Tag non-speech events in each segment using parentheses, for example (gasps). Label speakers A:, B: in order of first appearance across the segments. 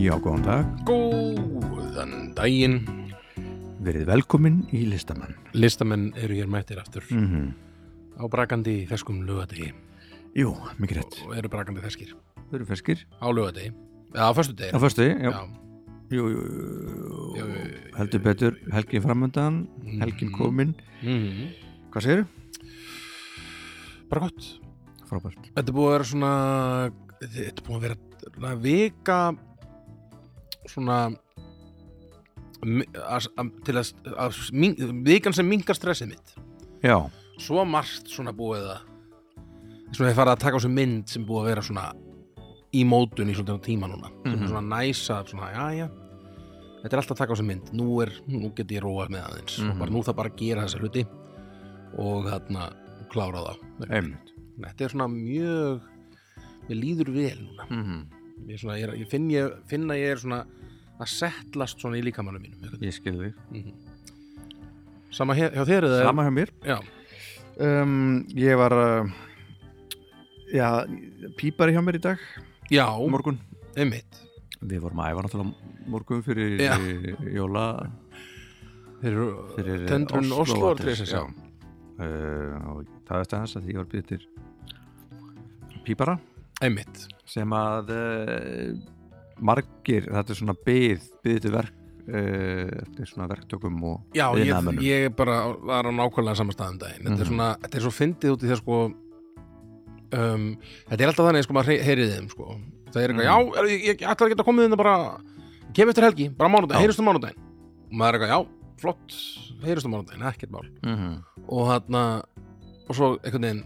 A: Já, góðan dag.
B: Góðan daginn
A: Verið velkomin í listamann.
B: Listamenn eru hér mættir aftur
A: Mm
B: á brakandi feskum lögadegi
A: Jú, mikið rétt.
B: og eru brakandi feskir
A: Þau eru ferskir.
B: á lögadegi, eða á föstu
A: Á
B: degi
A: fyrstu, já.
B: Já,
A: Jú, jú,
B: Jú, jú, jú.
A: heldur betur. Helgin framöndan, helgin
B: Mhm.
A: komin.
B: Mhm.
A: Hvað segir þau?
B: bara gott
A: Frábært.
B: Þetta er búið að vera svona Þetta er búið að vera svona vika svona mi- að, að, til að, að mink, vikan sem mingar stressið mitt
A: Já,
B: svo margt svona búið að svona ég farið að taka á sem mynd sem búið að vera svona í mótun í svona tíma núna
A: Mhm.
B: svona næsa, svona já já þetta er alltaf að taka á sem mynd nú, er, nú get ég róað með aðeins og
A: Mhm.
B: bara, nú það bara að gera þessa hluti og þarna klára það
A: einmitt.
B: þetta er svona mjög mér líður vel núna
A: Mm -hmm.
B: ég, er svona, ég, er- ég, finn, ég finn að ég er svona að settlast svona í líkamannu mínum einhvern veginn.
A: Ég skil þig.
B: sama hér, hjá þér eða
A: Sama hjá mér.
B: já,
A: Um, ég var, uh, já, pípari hjá mér í dag,
B: já
A: morgun.
B: einmitt
A: Við vorum að æfa náttúrulega morgun fyrir
B: Já.
A: jóla
B: Fyrir,
A: fyrir
B: tendrun Oslo Address, já.
A: já. Uh, og það er staðans að því ég var býð til pípara
B: Einmitt.
A: sem að uh, margir, þetta er svona byð byð til verk uh, eftir svona verktökum og
B: Já, ég,
A: iðnaðarmönnum.
B: ég bara var á nákvæmlega sama stað um daginn. Þetta er
A: Mhm.
B: svona, þetta er svo fyndið út í það sko um, þetta er alltaf þannig sko maður heyrið þeim sko. Það er eitthvað,
A: Mhm.
B: já, er, ég, ég ætla að geta komið inn og bara, ég kem eftir helgi, bara á mánudaginn,
A: Já.
B: heyrist um mánudaginn. Og maður er eitthvað, já, flott, heyrist um mánudaginn, ekkert mál. Og þarna, og svo einhvern veginn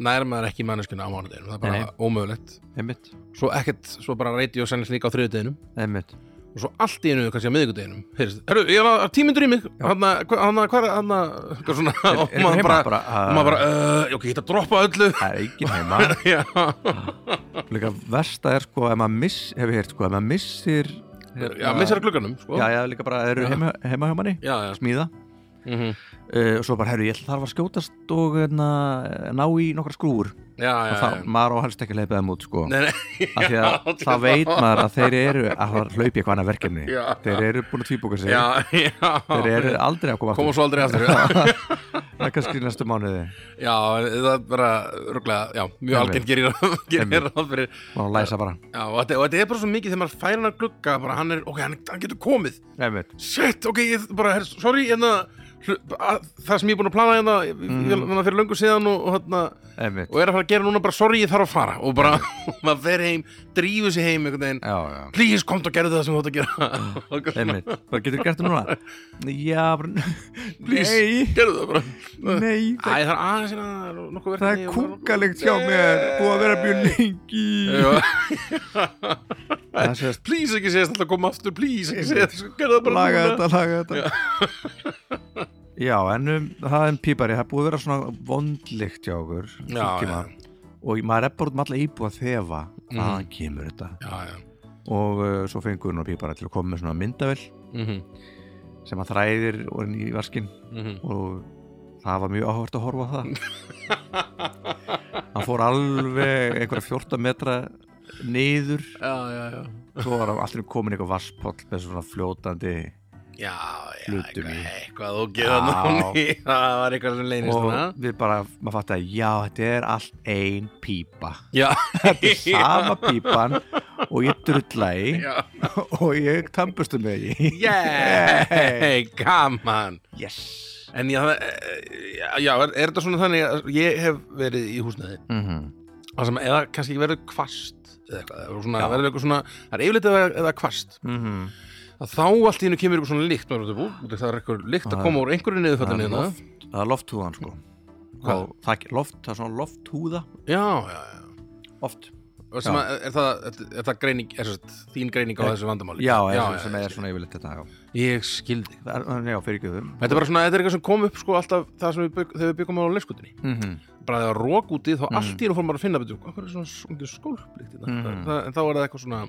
B: nær maður ekki manneskjuna á mánudaginn, það er bara
A: Nei.
B: ómögulegt.
A: einmitt,
B: Svo ekkert, svo bara reyti og sennist líka á þriðudeginum.
A: einmitt
B: og svo allt í einu, kannski á miðvikudeginum heyrðist, herru, ég var tímyndur í mig hann að, hann að, hvað er hann að svona,
A: Er-
B: (laughs) og
A: er
B: maður
A: heima
B: bara,
A: bara,
B: og
A: að-
B: maður bara uh, ok, ég get að droppa öllu (laughs)
A: það er ekki heima
B: já,
A: líka versta er sko ef maður miss, hef ég heyrt sko, ef maður missir hérna,
B: já missar að glugganum, sko
A: já, já, líka bara eru
B: Já.
A: heima, heima hjá manni
B: já, já.
A: smíða
B: Mm
A: uh, og svo bara, herru, ég ætla þarf að skjótast og hérna, ná í nokkra skrúur
B: já, já,
A: og það,
B: já.
A: maður á helst ekki að leipa þeim út sko.
B: Eh. Nei, nei,
A: (laughs) af því
B: (laughs) já,
A: að það veit maður að þeir eru að það hlaupi eitthvað annað verkefni
B: Já.
A: þeir eru búin að tvíbúka sig
B: já, já
A: þeir eru aldrei að koma aftur
B: koma svo aldrei
A: (laughs)
B: aftur
A: það er kannski í næstu mánuði
B: já, það er bara rúglega, já, mjög
A: Einmitt.
B: algengt gerir
A: Einmitt.
B: gerir ráð fyrir
A: og að læsa bara
B: já, og þetta, og þetta er bara svo mikið þegar maður færir hann að glugga bara hann er, ok, hann, hann getur komið
A: Einmitt.
B: shit, ok, ég bara, her, sorry hérna, hlu- að- það sem ég er búin að plana hérna, mm.
A: Mhm.
B: hérna fyrir löngu síðan og, og, hérna,
A: Einmitt.
B: og er að fara að gera núna bara, sorry, ég þarf að fara og
A: (laughs)
B: bara, (laughs) og maður fer heim, drífur sig heim einhvern veginn,
A: Já, já.
B: please, komdu og gerðu það sem þú átt
A: (laughs)
B: að gera Og eitthvað svona,
A: Einmitt. bara getur gert það núna já, bara,
B: please,
A: nei
B: gerðu það bara Æ,
A: nei, það,
B: það er aðeins hérna nokkuð
A: það
B: verkefni
A: er
B: og-
A: kúkalegt hjá mér búið að vera mjög lengi
B: Já,
A: (laughs) það sést,
B: please, ekki segist alltaf að koma aftur, please, ekki segist gerðu það bara
A: laga
B: núna.
A: þetta, laga þetta já, en um, það er pípari, það er búið að vera svona vondlikt hjá okkur
B: já, já, Mm.
A: tíma. og maður er bara út með alla íbúa þefa hvaðan kemur þetta
B: já, já.
A: og uh, svo fengur hún og pípara til að koma með svona myndavel
B: Mm
A: Mhm,
B: -hmm.
A: sem að þræðir og er í vaskin og það var mjög áhvert að horfa á það hann fór alveg einhverja 14 metra niður
B: já, já, já
A: svo var hann allir komin eitthvað vasspóll með svona fljótandi
B: Já, já,
A: Hlutum
B: eitthvað,
A: í.
B: eitthvað þú geða náni (laughs) Það var eitthvað sem leynist
A: og
B: hana
A: við bara, maður fatt að já, þetta er allt ein pípa
B: Já, (laughs)
A: þetta er sama pípan og ég drulla í
B: já
A: (laughs) og ég tampustu með því
B: Yey, gaman
A: yes
B: En já, það- já, já, er, er þetta svona þannig að ég hef verið í húsnaði
A: mm
B: Það sem, eða kannski verður kvast eða eitthvað, eða svona,
A: Já.
B: verður eitthvað svona það er yfirleitt eða, eða kvast
A: Mhm.
B: að þá allt í hennu kemur eitthvað svona líkt maður er þetta, "Ú, það er eitthvað líkt að koma úr einhverju
A: það
B: niðurfællinu
A: er
B: hérna
A: loft, það er lofthúðan sko
B: Hvað?
A: og það, er loft, það er svona lofthúða
B: já, já, já
A: oft
B: Og sem
A: Já.
B: að, er, það, er það greining, er það þín greining á þessu vandamáli
A: já, já, sem er svona yfirleitt þetta já,
B: ég skildi
A: Það er- já fyrir ekki
B: Þetta er bara svona, þetta er eitthvað sem kom upp sko alltaf það sem við bygg, þegar við byggum á leyskutinni
A: þau
B: bara þegar rók úti þá
A: Mm.
B: allt í einu fór maður að finna betur, hvað er svona svona skólplikt mm.
A: Mhm.
B: það, en þá er það eitthvað svona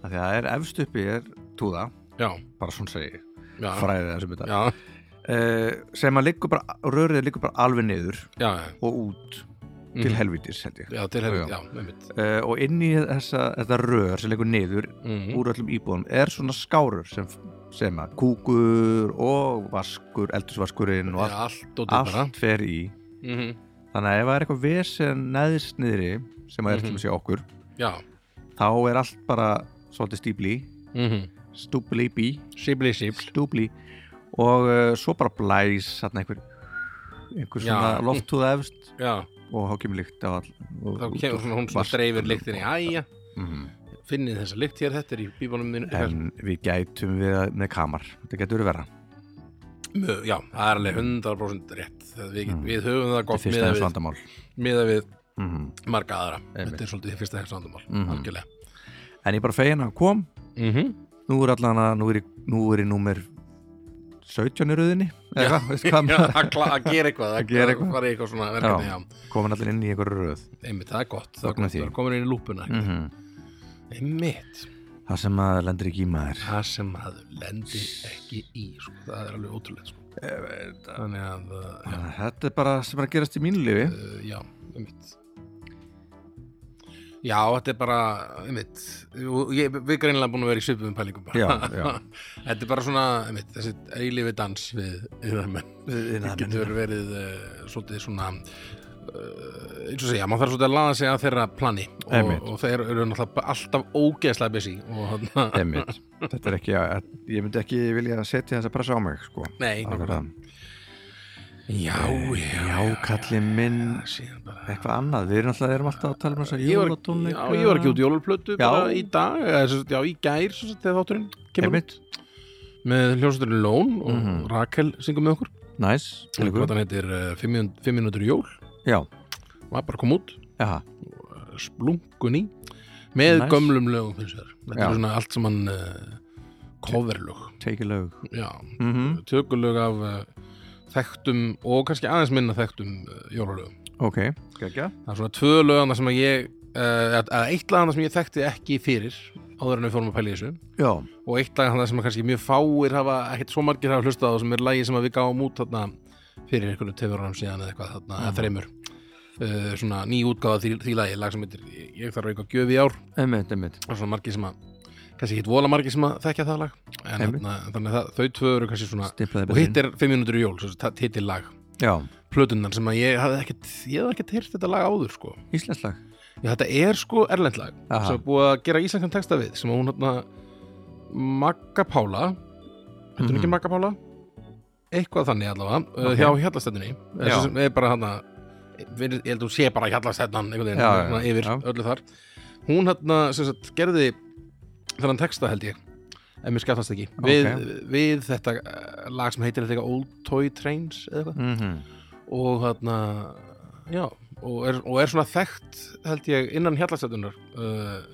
A: það er efst uppi er túða
B: já,
A: bara svona segi,
B: já,
A: fræðið þessum þetta Eh,
B: já,
A: uh, sem að liggur bara, rörið liggur bara alveg niður
B: já, já,
A: og út til
B: Mhm.
A: helvítis held ég
B: Já, til hefði,
A: Já, já.
B: já, með mitt
A: uh, og inn í þessa, þetta rör sem leikur niður
B: Mhm.
A: úr öllum íbúðum er svona skárur sem, sem að kúkur og vaskur, eldusvaskurinn og allt,
B: Allt og til bara
A: allt fer í
B: Mhm.
A: þannig að ef það er eitthvað vesen neðst niðri sem að er til
B: Mhm.
A: að sé okkur
B: Já
A: þá er allt bara svolítið stíbli
B: Mhm.
A: stúbli bí,
B: Sýbli, sýbl
A: stúbli og uh, svo bara blæs þarna einhver einhver
B: Já.
A: svona lofthúða efst
B: Já,
A: og þá kemur lykt á all og,
B: þá kemur svona hún sem
A: Vask-
B: dreifir lyktinni Æja,
A: Mhm.
B: finnið þessa lykt hér, þetta er í bíbónum minn
A: en við gætum við að- með kamar þetta getur verið verra
B: Mö- Já, það er alveg 100% rétt Það við,
A: Mm.
B: við höfum það
A: þetta
B: gott
A: er fyrsta
B: miða
A: þessu
B: við,
A: vandamál
B: miða við
A: Mhm.
B: marga aðra
A: Einmitt.
B: Þetta er svolítið fyrsta hefst vandamál
A: Mhm.
B: Algjörlega
A: en ég bara fegin að hann kom nú er allan að nú er, í- nú er í númer 17 í röðinni eða hvað, veist hvað
B: (laughs) Já,
A: maður-
B: að kla- að gera eitthvað
A: Að gera eitthvað.
B: fara í eitthvað svona verkefni, já,
A: komin allir inn í einhverju röð
B: einmitt, það er gott það er
A: Fagna
B: gott,
A: því. Mhm.
B: það er komin inn í lúpuna einmitt,
A: það sem að lendir ekki í maður
B: það sem maður lendir ekki í sko. það er alveg ótrúlega sko. þannig að, uh,
A: þetta er bara sem er að gerast í mínu lifi
B: uh, já, einmitt já, þetta er bara einmitt, Og ég, við erum greinlega búin að vera í svipum pælingum bara.
A: Já, já.
B: (laughs) þetta er bara svona, einmitt, þessi eilífi dans við yðarmenn
A: Iðnaðarmenn.
B: getur verið uh, svolítið svona Uh, eins og segja, maður þarf svolítið að laða sig að þeirra plani og,
A: Einmitt.
B: og þeir eru náttúrulega alltaf ógeðslega busy og hann
A: (laughs) Einmitt. þetta er ekki að, ég myndi ekki vilja setja þessa pressa á mig sko. Að
B: Nei,
A: eh,
B: nákvæmlega.
A: vera-
B: Já, já,
A: já, kallið minn
B: síðan bara
A: eitthvað annað, við erum alltaf, erum alltaf að tala um þess að
B: Ég var,
A: jólatónleika
B: já, ég var ekki út í jólaplötu
A: Já.
B: bara í dag, eða, sem sagt, já, í gær sem sagt, þegar þátturinn kemur
A: Einmitt.
B: út með hljómsveiturinn Lón og
A: Mhm.
B: Rakel syngur með okkur
A: næs,
B: og
A: nice.
B: hvað hann heitir eh, 5 minútur í jól
A: já,
B: var bara að koma út,
A: já,
B: splungun í með
A: Nice.
B: gömlum lögum hins vegar þetta
A: Já.
B: er svona allt sem hann uh, coverlög,
A: take a look
B: já
A: mm
B: tökulög af uh, þekktum og kannski aðeins minna þekktum uh, jólalögum
A: ok, geggja
B: það er svona tvö lögana sem að ég uh, eða eitt lagana sem ég þekkti ekki fyrir áður en við fórum að pæla í þessu
A: já,
B: og eitt lag þarna sem að kannski mjög fáir hafa, ekkert svo margir hafa hlustað á sem er lagi sem að við gáum út þarna fyrir einhvern tefurunum síðan eða eitthvað þarna,
A: Mm.
B: eða þreymur uh, svona ný útgáða því, því lagi, lag sem heitir Ég ég þarf að reyka gjöf í ár
A: einmitt, einmitt
B: og svona margir sem að kannski ekkert vola margir sem að þekkja það lag en
A: Einmitt.
B: þarna, þannig að það, þau tvö eru kannski svona
A: Stimplaði
B: og hitt er 5 minútur í jól, svo þetta hittir lag
A: Já,
B: plötunnar sem að ég hafði ekkert ég hafði ekkert heyrt þetta lag áður sko
A: íslenslag
B: Já, þetta er sko erlendlag
A: Aha.
B: sem er búið að gera íslenskan texta við sem hún hérna Magga Pála Þetta er
A: Mhm.
B: ekki Magga Pála eitthvað þannig allavega
A: Ok.
B: okay. hjá Hjallastættinni
A: Já.
B: sem er bara hérna ég held að hún sé bara Hjallastættan einhvern veginn
A: Já, já,
B: hérna,
A: já.
B: yfir
A: Já.
B: öllu þar hún hérna sem sagt gerði þennan texta held ég ef mér skjáttast ekki við, við þetta eh, lag sem heitir þetta eitthvað Old Toy Trains eða eitthvað
A: mm
B: og þarna já, og er, og er svona þekkt held ég innan hjallastætunar uh,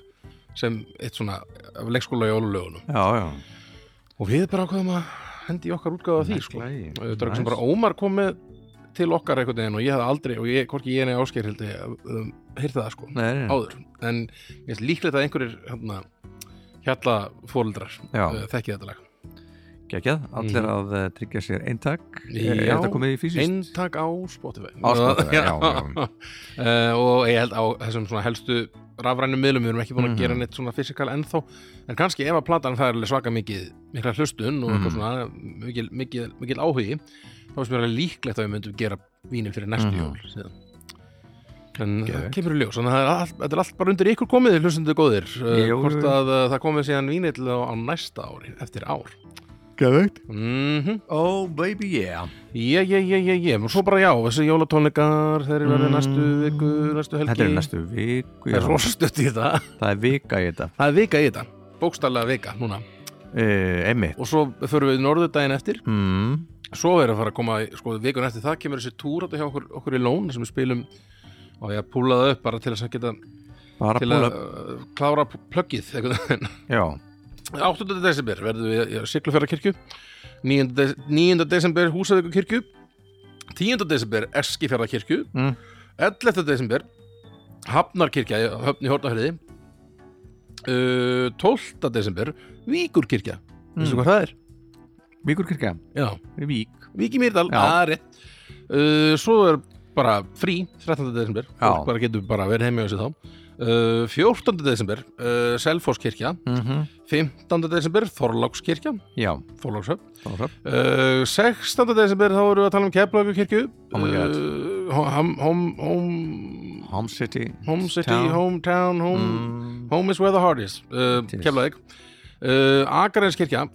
B: sem eitt svona af leikskóla í ólulögunum
A: Já, já
B: og við bara ákveðum að hendi í okkar útgáða því sko.
A: Lagi.
B: Og þetta er eitthvað sem
A: Nice.
B: bara Ómar kom með til okkar einhvern veginn og ég hafði aldrei og ég, hvorki ég neði áskeir held ég um, heyrði það sko,
A: Nei, nei, nei.
B: áður en ég veist líklegt að einhverjir hérna, hjallafóreldrar
A: Já.
B: uh, þekki þetta lag
A: Geggjað, allir
B: Mhm.
A: að eh, tryggja sér eintak Eh,
B: Já.
A: Er þetta komið í fysiskt?
B: Eintak á Spotify
A: Á Spotify, já, já.
B: (laughs) Eh, Og ég held á þessum svona helstu rafrænum miðlum, við erum ekki búin
A: Mhm.
B: að gera neitt svona fysikal ennþá, en kannski ef að platan það er alveg svaka mikið, mikla hlustun og eitthvað
A: Mhm.
B: svona mikil, mikil, mikil áhugi þá finnst mér alveg líklegt að við myndum gera vínil fyrir næstu
A: Mhm.
B: jól síðan En það
A: Geðveikt.
B: kemur í ljós, þannig að það er allt, þetta er allt bara undir ykkur komið, hlustundu góðir Eh,
A: Jú, jú.
B: Hvort að eh, það komið síðan vínill á, á næsta ári, eftir ár
A: Gæðvegt
B: Mhm
A: Oh baby yeah
B: Jé, jé, jé, jé, jé, og svo bara já, þessi jólatónleikar, þeir eru verið
A: Mm.
B: næstu viku, næstu helgi
A: Þetta er næstu viku
B: Það
A: já.
B: er rosa stutt í þetta
A: Það er vika í þetta
B: Það er vika í þetta, bókstallega vika núna
A: uh, Einmitt
B: Og svo förum við norður daginn eftir
A: mm.
B: Svo er að fara að koma, sko, vikun eftir það kemur þessi túr átta hjá okkur, okkur í lón sem við spilum og ég að púla það upp bara til þess að geta
A: Bara
B: til
A: búla
B: að uh, klára plöggið einhvern veginn.
A: Já,
B: 8. desember verðum við í Siglufjara kirkju 9. Des 9. desember Húsavíku kirkju 10. desember Eskifjara kirkju
A: Mm.
B: 11. desember Hafnar kirkja, höfn í Hortahriði uh, 12. desember Víkur kirkja
A: Mm.
B: veistu hvað það er?
A: Víkurkirkja
B: Já,
A: Vík
B: Vík í Mýrdal,
A: Já.
B: það er rétt uh, Svo er bara frí 13. desember,
A: Já.
B: fólk bara getur bara verið heimja á sig þá uh, 14. desember, uh, Selfosskirkja
A: Mhm.
B: 15. desember, Þorlákskirkja
A: Já,
B: Þorlákshöf
A: þá er
B: uh, 16. desember þá erum við að tala um Keflavíkirkju
A: Oh my God.
B: uh, home, home, home,
A: Home City
B: home City,
A: Town.
B: Hometown home,
A: Mm.
B: home is where the heart is uh,
A: Tis.
B: Keflavík uh, Akarneskirkja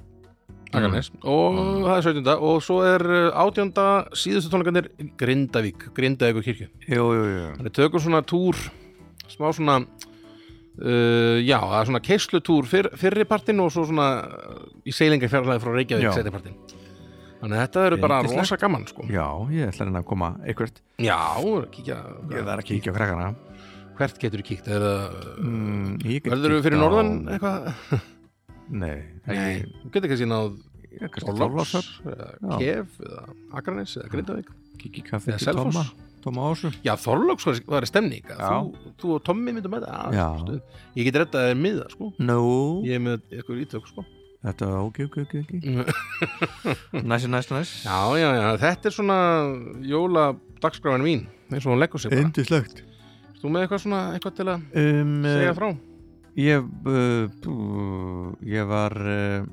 A: Mm.
B: Akarnes og það er 17. og svo er uh, 18. síðustu tónleikarnir Grindavík, Grindavíkur kirkju
A: Jú, jú, jú
B: þannig tökum svona túr smá svona uh, já, það er svona keislutúr fyr, fyrri partinn og svo svona uh, í seilinga fjarlæði frá
A: Já.
B: Reykjavík setja partinn þannig að þetta eru bara
A: Yndislegt.
B: rosa gaman sko
A: Já, ég ætla henni að koma eitthvert
B: já, kíkja,
A: Ég þarf að kíkja á krakkana
B: hvert getur kíkt er það
A: mm, ég get
B: Verður við
A: kíkt á-
B: fyrir norðan eitthvað?
A: Nei,
B: Nei,
A: ekki-
B: þú getur kannski náð
A: ég kannski
B: Ólafs,
A: Þorlákshöfn Já.
B: eða Kef, eða Akranes, eða Grindavík
A: Kíkja í kaffi
B: Eða
A: til
B: Selfoss.
A: Tóma Tóma Ásu
B: Já, Þorlóks var, var stemning að
A: Já.
B: þú, þú og Tommi myndum með það
A: Já.
B: Ég get rettað þér miða, sko
A: Nú,
B: Ég er með eitthvað ítök, sko
A: þetta var ok, ok, ok, ok Næs, næs, næs
B: Já, já, já, þetta er svona jóla dagskráin mín eins og hún leggur sig bara
A: Indislegt
B: Þú með eitthvað svona, eitthvað til að
A: um,
B: segja frá
A: Ég, uh, bú- ég var uh,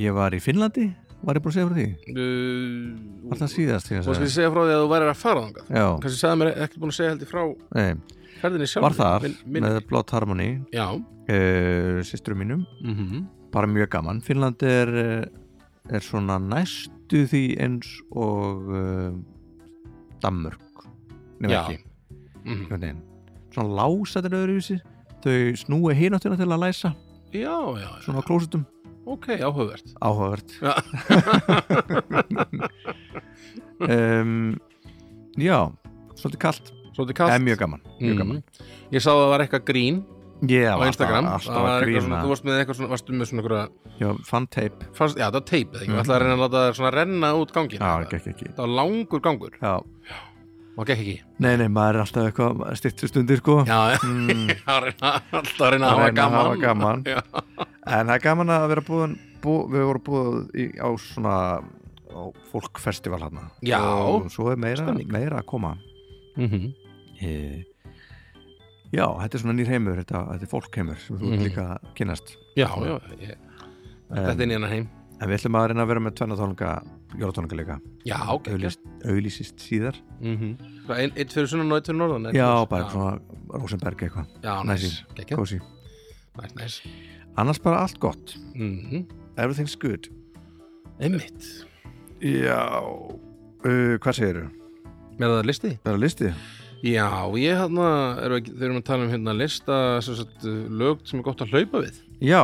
A: Ég var í Finnlandi Var ég búin að segja frá því? Var það
B: Þú
A: síðast? þegar ég
B: skal
A: sagði?
B: ég segja frá því að þú værir að fara þangað
A: Já,
B: Kannski sagði mér ekki búin að segja heldur frá
A: nei,
B: ferðinni sjálf
A: var þar með Blott Harmony
B: Já
A: uh, Systurum mínum
B: mm
A: Mhm. Bara mjög gaman Finnland er, eh, er svona næstu því eins og uh, Dammurk
B: Já
A: Nefnir ekki
B: Mhm.
A: einhvern veginn. Svona lásatir öðruvísi Þau snúi hináttina til að læsa
B: Já, já, já,
A: Svona á klósitum
B: ok, áhugavert
A: Áhugavert (laughs)
B: Já.
A: um, Já, svolítið kalt
B: Svolítið
A: En
B: kalt Mhm.
A: mjög gaman, mjög gaman.
B: Ég sá að það var eitthvað grín
A: Ég
B: á
A: var
B: Instagram
A: alltaf,
B: Það
A: alltaf að
B: var eitthvað svona,
A: grína
B: Þú varst með eitthvað svona, varstu með svona einhverja-
A: Já, Fan tape
B: fannst, Já, það var teip eða ekki,
A: Mm.
B: mm. ætlaði að reyna að láta það svona renna út gangin
A: Já, ekki, ekki, ekki
B: Það var langur gangur
A: Já.
B: og gekk
A: (laughs)
B: ekki
A: Nei, nei, maður er alltaf eitthvað stittur stundir sko
B: Já,
A: mm,
B: það var reyna- alltaf að reyna
A: Að
B: að hafa
A: reyna að
B: gaman
A: hafa gaman.
B: (laughs) Já,
A: En það er gaman að vera búin bú, Við vorum búin í, á svona á fólkfestival hann
B: Já.
A: Og svo er meira,
B: Stemning.
A: meira að koma
B: mm
A: e, Já, þetta er svona nýr heimur Þetta, þetta er fólkheimur sem þú
B: Mhm.
A: ert líka að kynnast
B: já, já ég, Þetta er
A: en,
B: nýjana heim
A: en við ætlum að reyna að vera með tvennatónleika Jólatónleika líka
B: Já, ok
A: Auglýst- auglýsist síðar
B: mm -hmm. Einn einn fyrir sunnan og einn fyrir norðan eða
A: Já,
B: eitthvað?
A: bara svona Rosenberg eitthvað,
B: Já, næs,
A: næsir.
B: gekk
A: kósi
B: Næs, næs
A: Annars bara allt gott,
B: Mhm.
A: everything's good
B: Einmitt
A: Já uh, Hvað segirðu?
B: Með það listi?
A: Það er listi?
B: Já, ég hérna, erum við, þeir eru að tala um hérna lista, sem sagt, lög sem er gott að hlaupa við,
A: Já,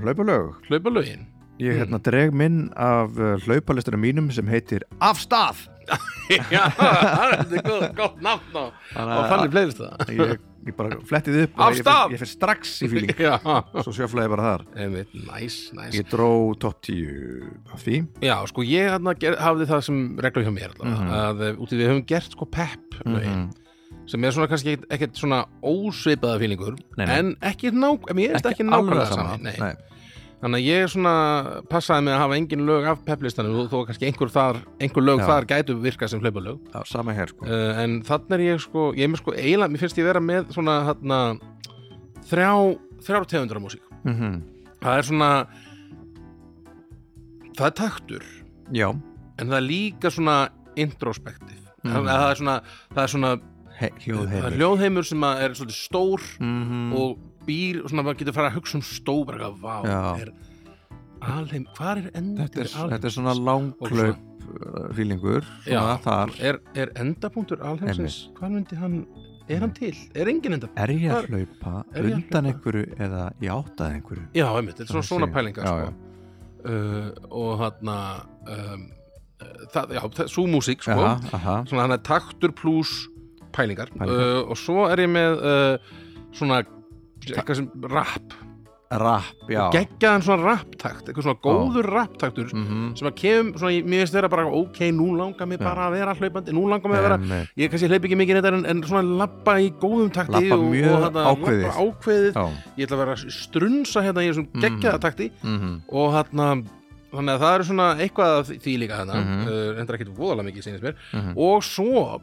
A: hlaupalög
B: hlaupa lögin.
A: Ég
B: Mm.
A: hérna dreg minn af uh, hlaupalistunum mínum sem heitir Af stað
B: (laughs) Já, það er gott, gott nafn á, á
A: að-
B: fannig playlist það.
A: Ég, ég bara flettið upp
B: Af
A: og ég fer-
B: stað!
A: Ég fyrir strax í fíling
B: (laughs) Já,
A: Svo sjöflaði ég bara þar
B: einmitt, næs, næs.
A: Ég dró topp 10 af því
B: Já, sko, ég hérna ger, hafði það sem regla hjá mér allavega,
A: Mhm.
B: mm -hmm. að eh, úti við höfum gert sko pep lögin, sem er svona kannski ekkert, ekkert svona ósveipaða fílingur,
A: Nei, nei.
B: en ekki nák, mér er þetta ekki
A: alveg
B: nákvæmlega
A: sama,
B: saman, nei.
A: nei.
B: Þannig að ég svona passaði með að hafa engin lög af pepplistanum og þó að kannski einhver, þar, einhver lög
A: Já.
B: þar gætu virka sem hlaupalög
A: Já, sama hér sko
B: uh, en þannig er ég sko, ég er með sko eiginlega, mér finnst ég vera með svona þarna, þrjá, þrjár tegundur af músík
A: mm -hmm.
B: það er svona það er taktur
A: Já,
B: en það er líka svona introspektiv
A: Mm.
B: mm. það er svona, það er svona
A: He
B: það
A: hljóðheimur
B: er hljóðheimur sem að er svolítið stór
A: mm -hmm.
B: og býr, svona maður getur fara að hugsa um stór bara eitthvað, vá,
A: Já.
B: er alheim, hvað er endur
A: þetta er, þetta er svona langklaup uh, fílingur svona
B: Já.
A: þar
B: er, er endapunktur alheimsins hvað myndi hann, er
A: Mm.
B: hann til? er engin endapunktur?
A: er ég að
B: Hvar-
A: hlaupa
B: er ég að
A: undan
B: hlaupa?
A: einhverju eða í áttað einhverju
B: Já, einmitt, þetta er svona
A: Það
B: svona
A: sé- já,
B: pælingar sko. uh, og þarna um, uh, það, já, það, sú músík sko.
A: aha, aha,
B: svona hann er taktur pluss pælingar,
A: Pælingar.
B: Uh, og svo er ég með uh, svona eitthvað sem rap,
A: rap, já
B: geggjaðan svona raptakt eitthvað svona góður raptaktur
A: Mhm.
B: sem að kemum, svona, ég- mér finnst vera bara ok, nú langar mig
A: Já.
B: bara að vera hlaupandi nú langar mig að vera
A: Einmitt.
B: Ég kannski hleyp ekki mikið þetta en, en svona labba í góðum takti
A: Labba
B: og,
A: mjög
B: og þarna
A: ákveðið.
B: labba ákveðið.
A: já, Mm.
B: Ég ætla að vera að strunsa hérna í þessum geggjaða takti
A: mhm,
B: og þarna þannig að það eru svona eitthvað af því- því líka þarna mm
A: Mhm.
B: -hmm. uh, endur ekkit voðalega mikið sínist mér
A: mhm.
B: og svo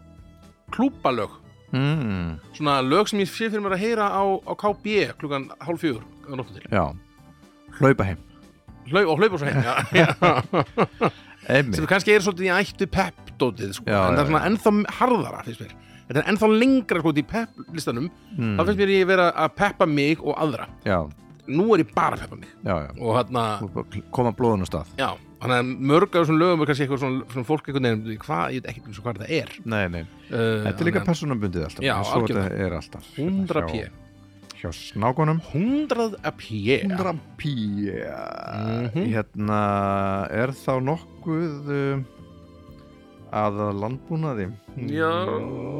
B: klúpalög
A: mm,
B: svona lög sem ég sé fyrir mér að heyra á, á KB klukkan hálf fjögur á nóttu til
A: já hlaupa heim
B: Hlau, og hlaupa svo
A: (laughs)
B: heim já, já. sem
A: einmitt,
B: kannski er svolítið í ættu pep-dótið sko.
A: Já,
B: en það
A: já,
B: er svona ennþá harðara finnst mér þetta er ennþá lengra sko, í pep-listanum
A: Mm.
B: þá finnst mér ég vera að peppa mig og aðra
A: Mhm, já,
B: nú er ég bara að peppa mig
A: já, já
B: og hann
A: Þú er bara að koma blóðun á stað
B: já, hann að mörg af þessum lögum er kannski eitthvað svona, svona fólk einhvern veginn hvað, ég veit ekki eins og hvað þetta er
A: nei, nei.
B: uh,
A: þetta er líka
B: hann
A: persónabundið alltaf
B: Já,
A: en svo
B: algjörlega.
A: þetta er alltaf
B: er 100 p
A: hjá, hjá snákunum
B: 100 p
A: 100 p hérna er þá nokkuð um, að að landbúnaði
B: já,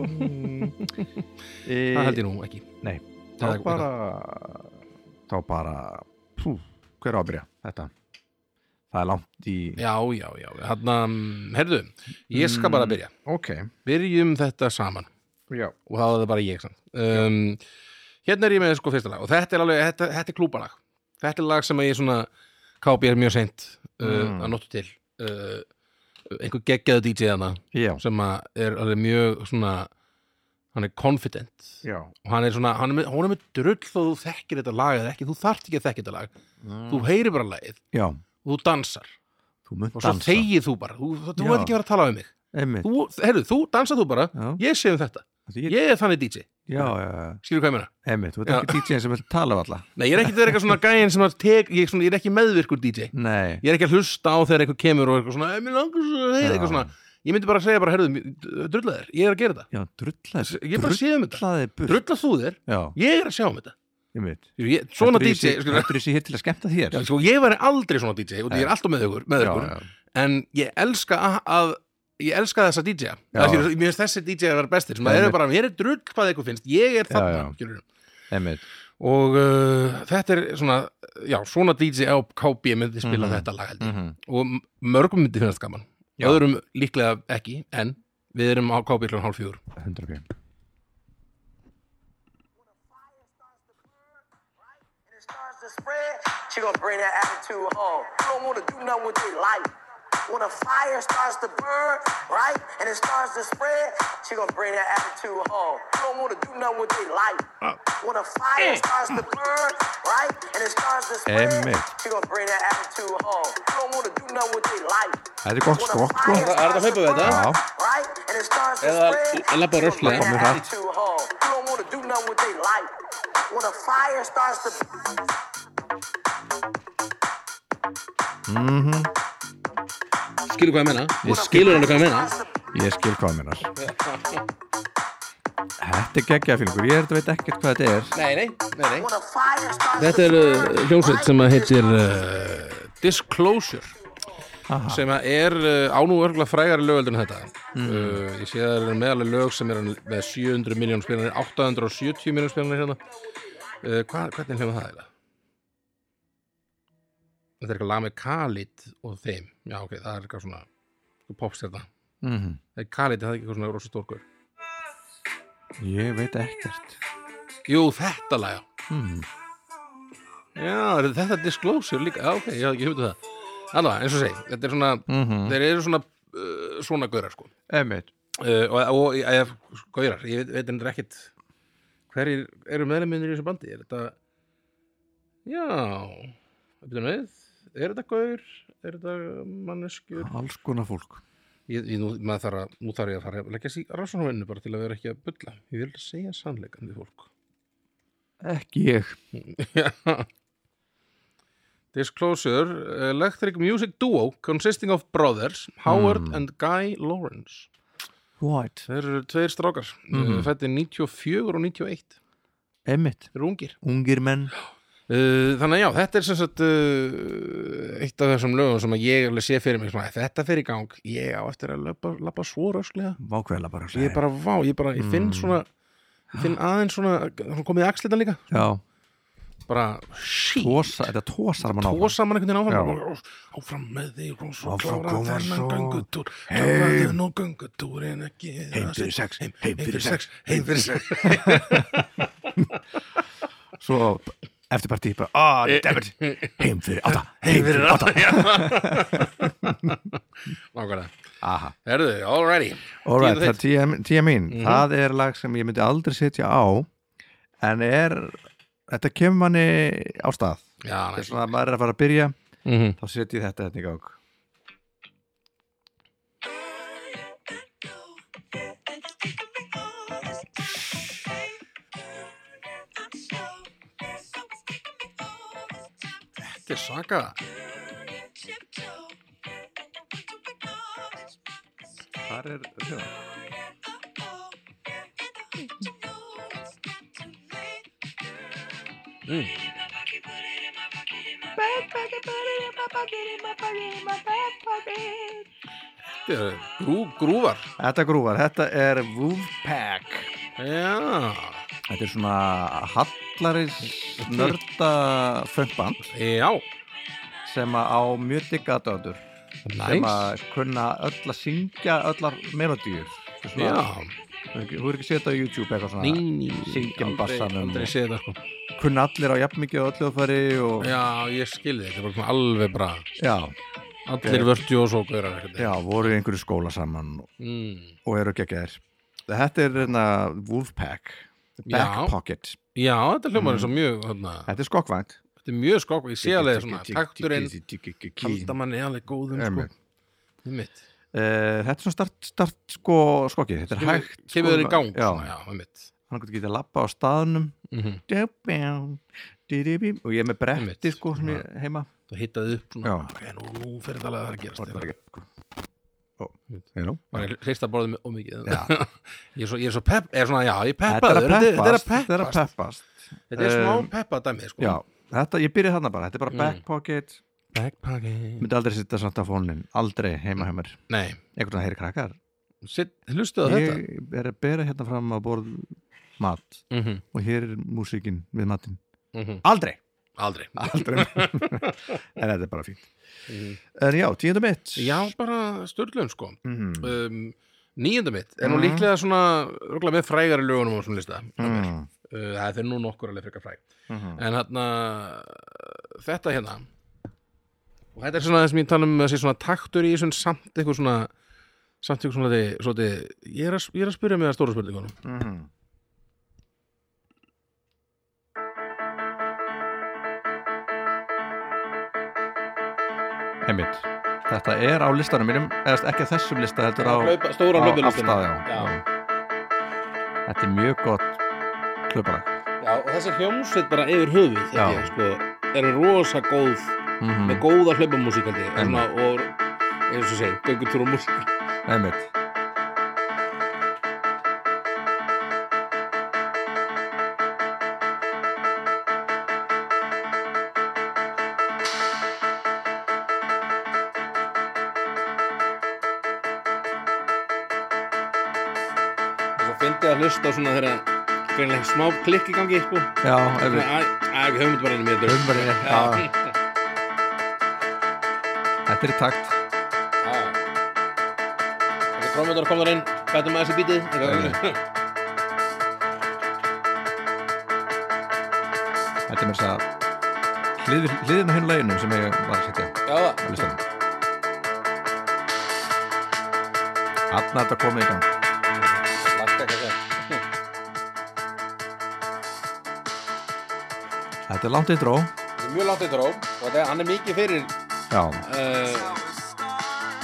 A: Mm.
B: það held
A: e,
B: ég nú ekki
A: nei, þá
B: Það er-
A: bara þá bara pú, hver á að byrja þetta það er langt í
B: já, já, já, hann að herðu, ég skal
A: Mm.
B: bara byrja
A: ok,
B: byrjum þetta saman
A: já,
B: og það var það bara ég samt. um, hérna er ég með sko fyrsta lag og þetta er alveg, þetta, þetta er klúbalag þetta er lag sem að ég svona kápi er mjög seint uh,
A: Mm.
B: að notu til uh, einhver geggjaðu DJ hana
A: já,
B: sem að er alveg mjög svona hann er confident
A: já.
B: og hann er svona, hann er með, hún er með drull þó þú þekkir þetta lag eða ekki, þú þarft ekki að þekki þetta lag
A: Mm.
B: þú heyrir bara lagið
A: já
B: og þú dansar
A: þú munt
B: og svo
A: dansa
B: þegið þú bara, þú, þú, þú
A: Já.
B: veit ekki að vera að tala um mig
A: einmitt
B: þú, heyrðu, þú dansar þú bara
A: Já.
B: ég sé um þetta,
A: Því ég,
B: ég er þannig DJ
A: já, já, já,
B: skilur hvað ég meina
A: einmitt, þú ert ekki DJ sem vil tala um valla
B: Nei, ég er ekki verið eitthvað svona gæin sem að tek, ég, svona, ég er ekki meðvirkur DJ
A: nei,
B: Ég er ekki að hlusta á þegar eitthvað kemur og eitthvað svona, "Eh, mér langar svo að heyra
A: Já.
B: eitthvað svona Ég myndi bara að segja bara, herðu, drulla þér, ég er að gera þetta
A: já, drullaði
B: Ég er bara að sé um þetta,
A: drullaði burt,
B: drulla þú þér,
A: já,
B: ég er að sjá um þetta
A: einmitt
B: Skilur, ég, Svona
A: Heldur þú ég
B: DJ,
A: sé-
B: skur,
A: heldur þú sé hér til að skemmta þér
B: já, sko, ég væri aldrei svona DJ og ég er alltaf með ykkur, með
A: já,
B: ykkur
A: já.
B: En ég elska að, að ég elska þessa DJ-a
A: Já.
B: Mér finnst þessi DJ að vera bestir sem
A: Já,
B: að eru
A: einmitt.
B: bara, mér er drull hvað eitthvað finnst, ég er
A: Já,
B: þarna, skilurðu.
A: einmitt,
B: og uh, þetta er svona já, svona DJ á KB myndi spila
A: Mhm.
B: þetta lag held ég
A: mhm,
B: og m- mörgum myndi finnast gaman
A: Já.
B: öðrum líklega ekki, en við erum á KB klón hálf fjögur
A: 100
C: and it starts to spread, she gonna bring that attitude home. You don't wanna do nothing with your life. When a fire starts to burn, right, and it starts to spread, she gonna bring that attitude home. You don't wanna do nothing with your life. When a fire starts to burn, right, and it starts to spread,
A: Amen.
C: she gonna bring that attitude home. You don't wanna do nothing with your life.
A: Það er gott skokk, sko.
C: When a fire
D: Er þetta hlaupið
C: starts to
D: þetta?
C: burn,
A: Já.
C: right, and it starts to
D: Eða
C: spread,
D: labba
C: she gonna
D: rösklega.
C: bring that
A: Komið hratt.
C: attitude home. You don't wanna do nothing with your life. When a fire starts to
D: Skilur hvað ég menna?
A: Ég
D: Skilur hann hvað ég menna?
A: Ég skil hvað minnar Þetta er geggja fílingur, ég veit ekkert hvað þetta er
D: Nei, nei, nei, nei
C: Þetta
D: Þetta er uh, hljómsveit sem að heitir uh, Disclosure
A: Aha.
B: sem að er uh, ánú örgulega frægari lögöldur en þetta uh, ég sé að það er meðalega lög sem er með 700 miljón spilanir 870 miljón spilanir hérna uh, hva, hvernig hljóma það eiginlega? Þetta er eitthvað lag með Khalid og þeim já ok, það er eitthvað svona popstjarta
A: mm
B: Nei, Khalid, er það er ekki eitthvað svona rosa stórkur
A: Ég veit ekkert
B: Jú, þetta lag, já
A: Mhm.
B: Já, er þetta er disclosure líka Já, ok, ég hafði ekki hugmynd um það Alla, eins og segi, þetta er svona
A: Mhm.
B: Þeir eru svona, uh, svona gaurar sko
A: Emmett
B: uh, Og, og ja, gaurar, ég veit, veit endur ekkit Hverjir eru meðleminir í þessu bandi Er þetta Já, betur með Er þetta gaur, er þetta manneskjur
A: Alls konar fólk
B: ég, ég, nú, maður þarf að, nú þarf ég að fara að leggja sér rannsóknarvinnu bara til að vera ekki að bulla Ég vil segja sannleikan við fólk
A: Ekki ég
B: Yeah. Disclosure, electric music duo consisting of brothers Howard and Guy Lawrence
A: What?
B: Þeir eru tveir strákar mm.
A: Mhm.
B: fættir 94 og 91
A: Emmett
B: Þeir eru ungir
A: Ungir menn
B: uh, Þannig að já, þetta er sem sagt uh, eitt af þessum lögum sem að ég alveg sé fyrir mig svona, þetta fer í gang, ég á eftir að labba, labba svo rösklega
A: Vákvæðla bara
B: ég er bara vá, ég, bara, ég
A: Mm.
B: finn svona ég finn aðeins svona, svona komið í axlita líka
A: Já,
B: bara shit
A: Tosa, þetta tosar mann á
B: tóa saman einhvern veginn áfram
A: Já.
B: og- og- áfram með þig og svo
A: Áfram
B: klára
A: koma
B: þennan
A: svo.
B: göngutúr
A: Heim.
B: kláraðin og göngutúrin ekki
A: Heim fyrir sex,
B: heim,
A: heim fyrir
B: fyrir sex heim fyrir sex
A: Svo eftir partí bara, ah, dammit, heim fyrir átta (laughs) heim fyrir átta
B: (laughs) Nákvæmlega.
A: Aha.
B: Herðu, alrighty.
A: Alright,
B: Tíu
A: það er tíja, tíja mín það er lag sem ég myndi aldrei setja á en er þetta kemur manni á stað
B: Já,
A: Þetta er
B: næs.
A: svona að maður er að fara að byrja
B: Mm -hmm.
A: þá setjum ég þetta hérna í gang
B: Þetta er svaka.
A: Þar er hljóðan
B: Þetta er grú, grúvar.
A: Þetta grúvar, þetta er Wolfpack
B: Já.
A: Þetta er svona hallaris nörda fröndband
B: Já.
A: sem að á mjög digga döður sem
B: Næs.
A: að kunna öll að syngja öllar melodíur Þetta er svona-
B: Já.
A: Þú er ekki setja á YouTube eitthvað svona
B: Ný, ný.
A: syngjum
B: aldrei-
A: bassanum.
B: Aldrei séð þetta sko.
A: kunna allir á jafn mikið og öllu að fari og já,
B: Já, ég skilði þetta. Þetta var svona alveg bra.
A: já,
B: Allir vörtu og svo gaurar ekkert.
A: voru í einhverju skóla saman og-
B: Mm.
A: og eru ekki að gera Þetta er hérna Wolfpack Back
B: Já.
A: Pocket
B: Já, þetta hljómar
A: Mm.
B: eins og mjög, þarna,
A: Þetta er skokkvænt
B: þetta er mjög skokk, ég sé alveg svona, takturinn, halda
A: Halda
B: manni alveg góðum, sko,
A: Einmitt.
B: einmitt.
A: Eh, þetta er svona start, start sko, skokki, þetta er hægt sko.
B: Kemur þér í gang,
A: já,
B: svona, já, einmitt.
A: hann getur getið að lappa á staðnum
B: Mhm.
A: Dubbiam, didibim, og ég er með bretti
B: Einmitt.
A: sko sem ég heima
B: Það hittaði upp svona,
A: Já.
B: ok, nú, nú fyrir það að það er að gerast.
A: Ó, you know.
B: Var ég hrista borðið með ómikið. (laughs) ég er svo, ég er svo pepp, er svona, já, ég peppaður,
A: þetta er að peppast
B: þetta er að peppast.
A: peppast
B: Þetta er smá
A: Um,
B: peppa dæmi, sko.
A: já, þetta, ég byrja þarna bara, þetta er
B: Mm.
A: bara back pocket
B: Backpacking.
A: myndi aldrei sitta samt á fónin, aldrei heima heimar
B: Nei,
A: einhvern veginn heyri krakkar
B: sitt, hlustu á þetta?
A: ég er að bera hérna fram á borð mat
B: Mhm,
A: og hér er músíkin við matinn
B: mhm.
A: aldrei,
B: Aldrei.
A: aldrei en þetta er bara fínt en já, tíundum mitt
B: Já, bara störlun, sko.
A: mm.
B: um, nýjönda mitt er
A: Mhm.
B: nú líklega svona rúglega með frægari lögunum á svona lista mm.
A: Mm.
B: uh, það er nú nokkur alveg frekar fræg
A: Mhm.
B: en hérna uh, þetta hérna og þetta er svona það sem ég tala um að sé svona taktur í þessum samt eitthvað svona samt eitthvað svona því, svo því ég er að, ég er að spyrja mig að stóra spurningunum
A: Mhm. Einmitt. Þetta er á listanum mínum, eða ekki á þessum lista heldur á,
B: Hlaupa- stóra
A: á
B: hlaupalustinni.
A: afstæð, já.
B: Já.
A: Þetta er mjög gott klubbalag.
B: já, og þessi hljómsveit bara yfir höfuð
A: Já. ég,
B: sko, er rosa góð
A: Mm -hmm.
B: góða hlaupamúsíkaldi
A: og svona,
B: Hérna, og eins og segi, göngutúr og músík
A: Einmitt.
B: og svo fyndi að hlusta á svona þegar greinlega smá klikk í gangi sko.
A: Já,
B: Æ,
A: einmitt.
B: æ, ekki höfum þetta bara inn í mér dörr
A: Umbarið, já. Þetta er í takt.
B: Þetta er trómöndar kom þar inn Bætum að þessi bítið eitthvað.
A: Þetta er mér að hlið, hliðin á hinn læginu sem ég var að setja.
B: Já, það
A: á listanum Þarna er þetta komið í gang
B: Lakka ekki að segja
A: Þetta er langt í dró
B: Þetta er mjög langt eitt ró og þetta er, hann er mikið fyrir uh,
A: Já,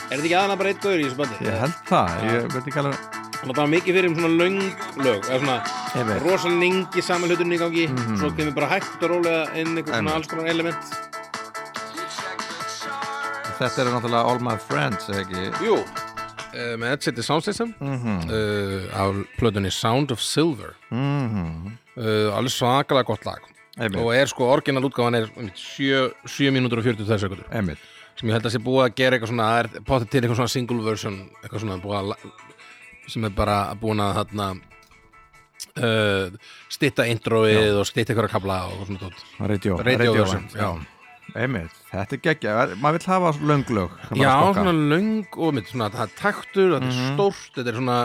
B: Er þetta ekki aðan bara eitt gaur í þessu bandi?
A: ég held það Ég veit ekki alveg
B: Hann er bara mikið fyrir um svona löng lög eða svona
A: Einmitt.
B: rosalega lengi saman hlutunni í gangi svo kemur bara hægt og rólega inn einhver svona
A: Einmitt.
B: alls konar element
A: Þetta eru náttúrulega All My Friends, eða ekki
B: Jú uh, með þetta setið Sound System uh, af plötunni Sound of Silver
A: Mhm.
B: uh, alveg svakalega gott lag
A: Einmitt.
B: og er sko orginal útgáfan er um, 7, 7 mínútur og 42 sekundur
A: Einmitt
B: sem ég held að sé búið að gera eitthvað svona það er potið til eitthvað svona single version eitthvað svona búið að la- sem er bara búin að þarna uh, stitta introið og stitta eitthvað kapla og svona tótt
A: Radio,
B: Radio version,
A: version, já Einmitt, þetta er geggja Maður vill hafa lönglög
B: Já, svona löng og mitt, svona, það er taktur, þetta er stórt, þetta er svona,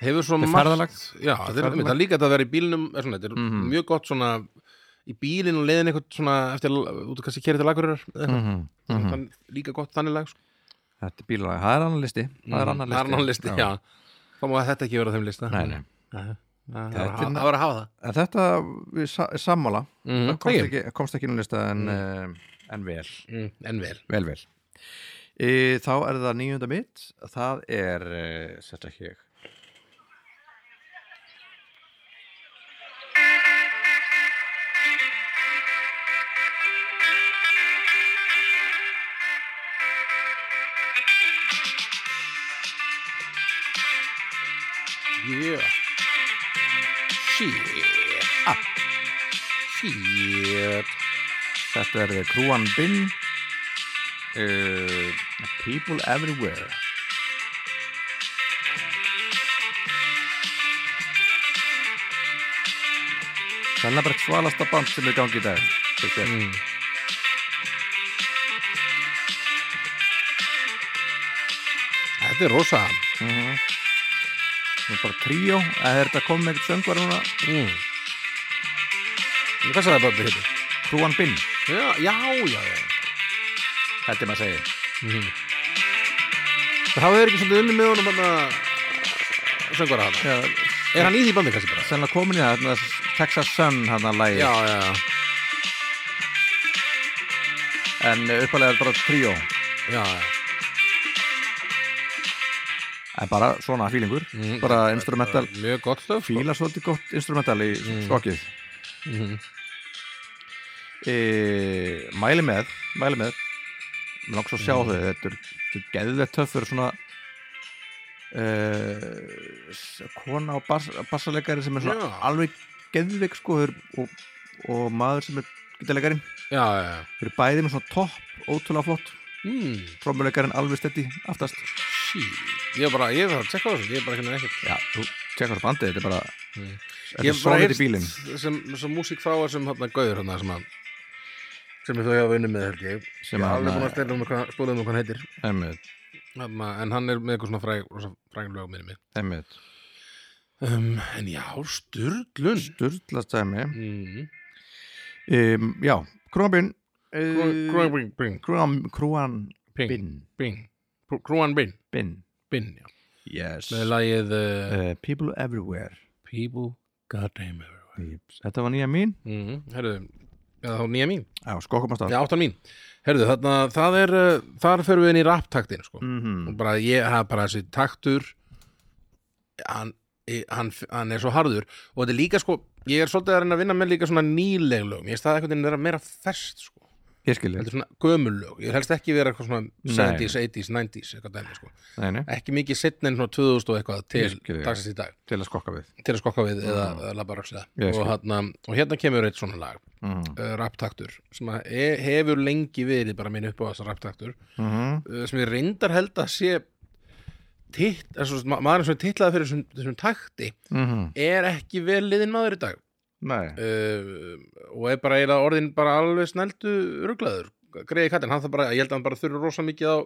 B: hefur svo
A: Mhm. Þetta er
B: margt-
A: ferðalag.
B: Já, þetta er,
A: ferðalag. Mhm.
B: þetta er líka þetta að vera í bílnum, er svona, þetta er mjög gott svona í bílinn og leiðin eitthvað svona eftir, út og kannski kerið til lagururar mm
A: Mhm,
B: -hmm. þann, líka gott þannig lag sko. Mhm.
A: Þetta er bílalag, það er annan listi Mhm. Það er annan listi, Mhm.
B: annan listi já. þá má þetta ekki vera á þeim lista
A: Nei, nei.
B: Nei. Það
A: Þetta
B: var
A: er
B: að hafa-
A: na-
B: það var að hafa það
A: En þetta, við sa- sammála
B: Mhm.
A: það komst
B: Ekki.
A: ekki, komst ekki inn á lista en, mm. en vel
B: mm, en vel
A: Vel, vel e, Þá er það nýjunda mitt Það er, e, sérst ekki ég
B: yeah. shit shit
A: Þetta er Kruan Bin uh, People Everywhere Það er bara svalasta band sem er í gangi í dag Þetta er
B: mm. þetta er rosa
A: nú bara tríó Það er þetta komið með eitthvað söngvar núna
B: mm. hvað sagði hérna? það bara þetta?
A: Kruan Bin,
B: já, já, já, já.
A: þetta er maður að segja
B: Það hafa þeir ekki svolítið unni með honum hann að söngvara hann
A: Já,
B: Er hann í því bandi kannski bara?
A: sennilega komin í það þarna Texas Sun hann að lægi
B: Já, já, já,
A: en eh, uppalega er þetta bara tríó
B: já, já.
A: en bara svona fílingur bara instrumental
B: Mjög gott stöf sko.
A: fíla svolítið gott instrumental í skokkið
B: Mhm.
A: e, mæli með mæli með mér langs að sjá
B: Mm.
A: þau þetta er, þetta er geðveitt töff fyrir svona e, kona og bas, bassaleikari sem er svona
B: Já.
A: alveg geðveik sko þeir- og, og maður sem er gitaleikari
B: Já, já, já
A: þau eru bæði með svona topp ótrúlega flott
B: mm,
A: trómuleikarinn alveg stetti aftast
B: sí. Ég er bara, ég þarf að tjekka á þessu Ég er bara hérna ekkert
A: já, þú tekur upp bandið þetta er bara
B: Mm.
A: þetta
B: Ég
A: er
B: hef bara
A: solid í
B: heyrst
A: bílinn
B: Sem, sem músík frá þessum hann gauður hann sem hann sem ég þau hafa unni með held ég
A: Sem
B: Ég er
A: hann,
B: alveg búin
A: eh,
B: að stela um hvað spólaðum um hvað hann heitir
A: einmitt,
B: hann, en hann er með eitthvað svona fræg, rosa fræg lög minni mig
A: einmitt
B: um, En já, Sturlun
A: Sturla stæmi
B: mm.
A: um, já, Krúanbinn
B: Krúan Bing Bing
A: Krúanbinn
B: Uh, Bing Bing Krúan Bing Bing já.
A: yes
B: með lagið uh,
A: uh, People Everywhere
B: People Goddamn Everywhere
A: Yps. þetta var nýja mín
B: mm, herðu, eða þá nýja mín
A: já, skokkum að stað
B: já, áttan mín herðu, þarna, það er uh, þar förum við inn í rapptaktin sko.
A: Mhm.
B: og bara ég hafa bara þessi taktur hann, eh, hann, hann er svo harður og þetta er líka sko ég er svolítið að reyna að vinna með líka svona nýleg lög ég staði einhvern veginn vera meira fest sko
A: ég skil
B: þetta er svona gömul lög, ég vil helst ekki vera eitthvað svona
A: Nei.
B: 70s, 80s, 90s eitthvað dæmi sko
A: nei, nei,
B: ekki mikið setn en svona 2000 og eitthvað til
A: Ég skil þig.
B: dagsins í dag
A: til að skokka við
B: til að skokka við eða, eða labba rökslega
A: Ég
B: og,
A: skil.
B: hérna, og hérna kemur eitt svona lag
A: Mhm.
B: uh, rapptaktur sem að e- hefur lengi verið bara minn upp á þessa rapptaktur
A: Mhm.
B: uh, sem ég reyndar held að sé titt, altså, ma maður sem er titlaði fyrir þessum, þessum takti
A: Mhm.
B: er ekki vel liðin maður í dag
A: nei,
B: uh, og er bara eiginlega orðin bara alveg snældu ruglaður greiði kattinn, hann það bara, ég held að hann bara þurfi rosa mikið á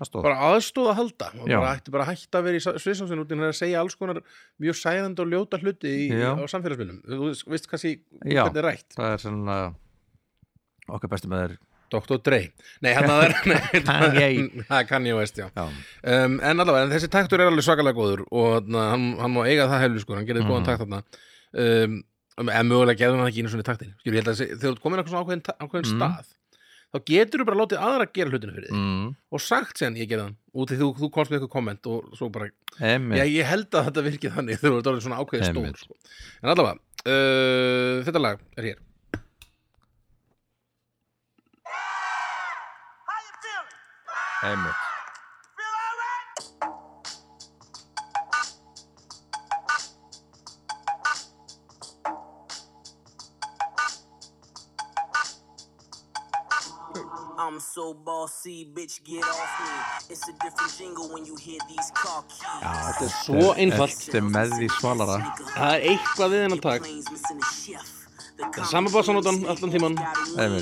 A: það stóð
B: bara aðstóð að halda og
A: Já.
B: bara ætti bara að hætta að vera í sviðsámsvinn út en að segja alls konar mjög sæðandi og ljóta hluti í,
A: Já.
B: á samfélagsmiðlum þú veist- veist kannski
A: Já.
B: hvernig er rætt
A: það er svona okkar besti með þér
B: Dr. Dre, nei hann
A: (laughs)
B: að það er
A: Kanye.
B: (laughs) það kann ég veist já
A: já,
B: um, en allavega, en þessi taktur er alveg svakalega góður og na, hann, hann má eiga það heflu sko hann gerði
A: Mhm.
B: góðan takt þarna um, en mögulega gerði hann það ekki einu svona taktin Skilur, ég held að þessi- þegar þú ert komin á eitthvað svona ákveðin, ta- ákveðin
A: Mhm.
B: stað þá getur þú bara látið aðra að gera hlutinu fyrir þig
A: mm.
B: og sagt sér ég gerði hann út í því þú, þú komst með eitthvað komment og svo bara Já,
A: einmitt
B: ég held að þetta virki þannig (laughs) þegar þú ert orðin svona ákveðið
A: Einmitt.
B: stór sko. En allavega, uh, þetta lag er hér
C: How you feeling?
A: einmitt
C: Feel all right?
E: I'm so bossy, bitch, get off me. It's a different jingle when you hear these car keys.
A: þetta er
B: svo einfalt.
A: þetta er með því svalara
B: Það er eitthvað við hennan takt
E: Það
B: er sama bassanótan allan tímann. Það er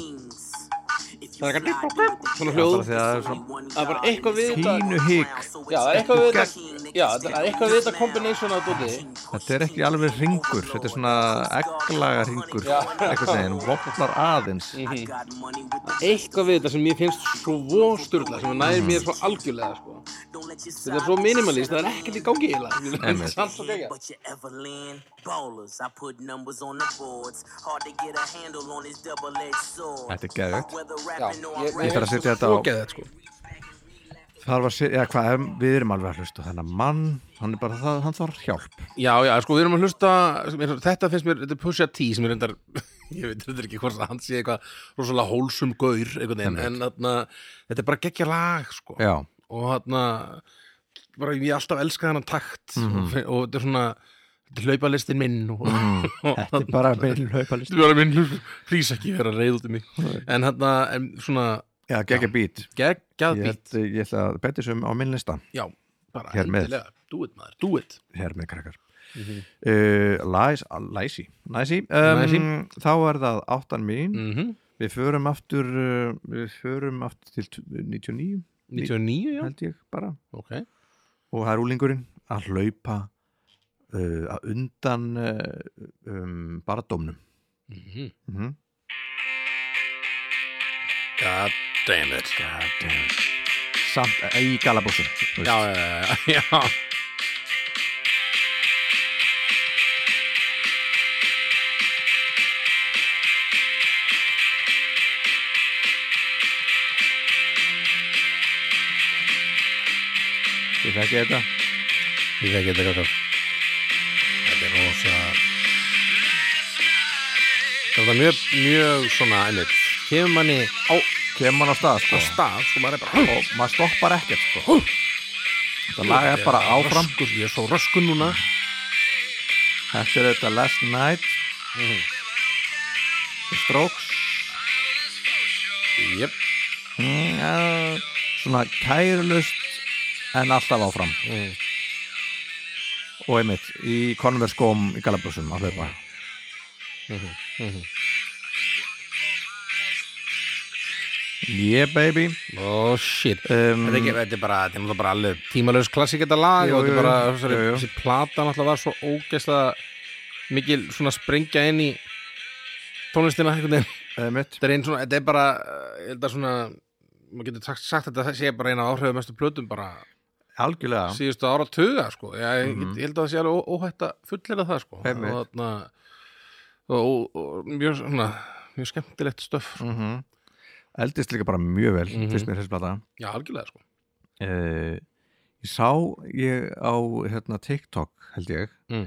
B: eitthvað blip, blip, blip, svona hljóð.
A: bara því að það er svo-
E: Það er bara eitthvað við
A: Pínu hik.
E: Já, það er eitthvað við
A: Gegn-
E: þetta Já, það er eitthvað við þetta kombination að dóti
A: Þetta er ekki alveg ringur, þetta er svona eglaga ringur, eitthvað neginn, vopnar aðeins.
B: eitthvað við þetta sem mér finnst svo sturla sem næri mér svo algjörlega sko.
E: Þetta
B: þetta er svo minimalist, það er ekkert í gangi eiginlega
A: Einmitt.
B: Samt svo geggjað.
E: But you ever land ballers. I put numbers on the boards. Hard to get a handle on his double-edged sword.
A: Þetta er geðvegt.
E: Whether
B: Já,
E: rapping or
B: ég-
A: Ég
E: I'm rapping,
A: þarf að setja þetta á.
B: svo geðið sko.
A: Það var að segja, já, hvað, við erum alveg að hlusta á þennan mann, hann er bara það, hann þarf hjálp.
B: já, já, sko, við erum að hlusta mér- þetta finnst mér, þetta er Pusha T sem er endar (laughs) ég veit þetta ekki hvort að hann sé eitthvað rosalega hólsum gaur einhvern veginn, en þarna, þetta er bara geggja lag sko.
A: Já,
B: og þarna bara ég alltaf elska þennan takt og,
A: Mhm.
B: fe- og þetta er svona þetta er hlaupalistin minn og, (laughs) og
A: þetta er bara með hlaupalist.
B: Þetta er bara minn hlust, plís ekki vera reið út um mig En hann en svona
A: Já, geggja bít.
B: geggjað
A: Ég,
B: bít
A: held- ég ætla að betja sem á minn lista,
B: Já, bara
A: Hér með.
B: endilega, do it maður, do it
A: hér með krakkar. Uh, læs, læsi, læsi. Um,
B: Læsi.
A: þá er það áttan mín.
B: mm
A: Við förum aftur, uh, við förum aftur til t- 99,
B: 99, já,
A: held ég bara.
B: ok
A: og það er úlingurinn að hlaupa uh, að undan uh, um, bara dómnum mm -hmm.
B: God damn it
A: samt eh, í galabúsum
B: Já, já, já, (laughs) já, já.
A: ég þekki þetta
B: Ég þekki þetta gott Þetta er rosa Þetta er mjög, mjög svona, einmitt Kemur manni á
A: kemur hann á stað sko
B: stað, sko maður er bara
A: og maður stoppar ekkert sko þetta lag er bara áfram
B: Röskur, Ég er svo röskun núna
A: þetta er þetta last night
B: Mhm.
A: The strokes
B: Jep,
A: mm, ja, svona kærulust en alltaf áfram
B: Mm.
A: og einmitt í Converse skóm í galabúsum að hlaupa
B: Mhm,
A: yeah baby
B: oh shit
A: um,
B: Þetta er, ekki, þetta er bara, þetta er náttúrulega bara alveg tímalöðs klassik þetta lag
A: Jú,
B: og þetta
A: jú,
B: er bara,
A: jú.
B: þessari,
A: Jú, jú.
B: þessi plata náttúrulega var svo ógeðslega mikil svona sprengja inn í tónlistina einhvern veginn.
A: einmitt
B: Þetta er einn svona, þetta er bara, eh, ég held að svona, maður getur sagt, sagt þetta sé bara eina áhrifu mestu plötum bara
A: algjörlega
B: síðustu ára tuga, sko. Ég, mm ég held að það sé alveg ó- óhætt að fullera það, sko.
A: Mhm. Einmitt.
B: Og þarna, og, og, og mjög svona, mjög skemmtilegt stöf.
A: mm eldist líka bara mjög vel
B: Mhm.
A: fyrst mér þessi blata
B: Já, algjörlega, sko.
A: uh, ég sá ég á hérna, TikTok held ég
B: Mm.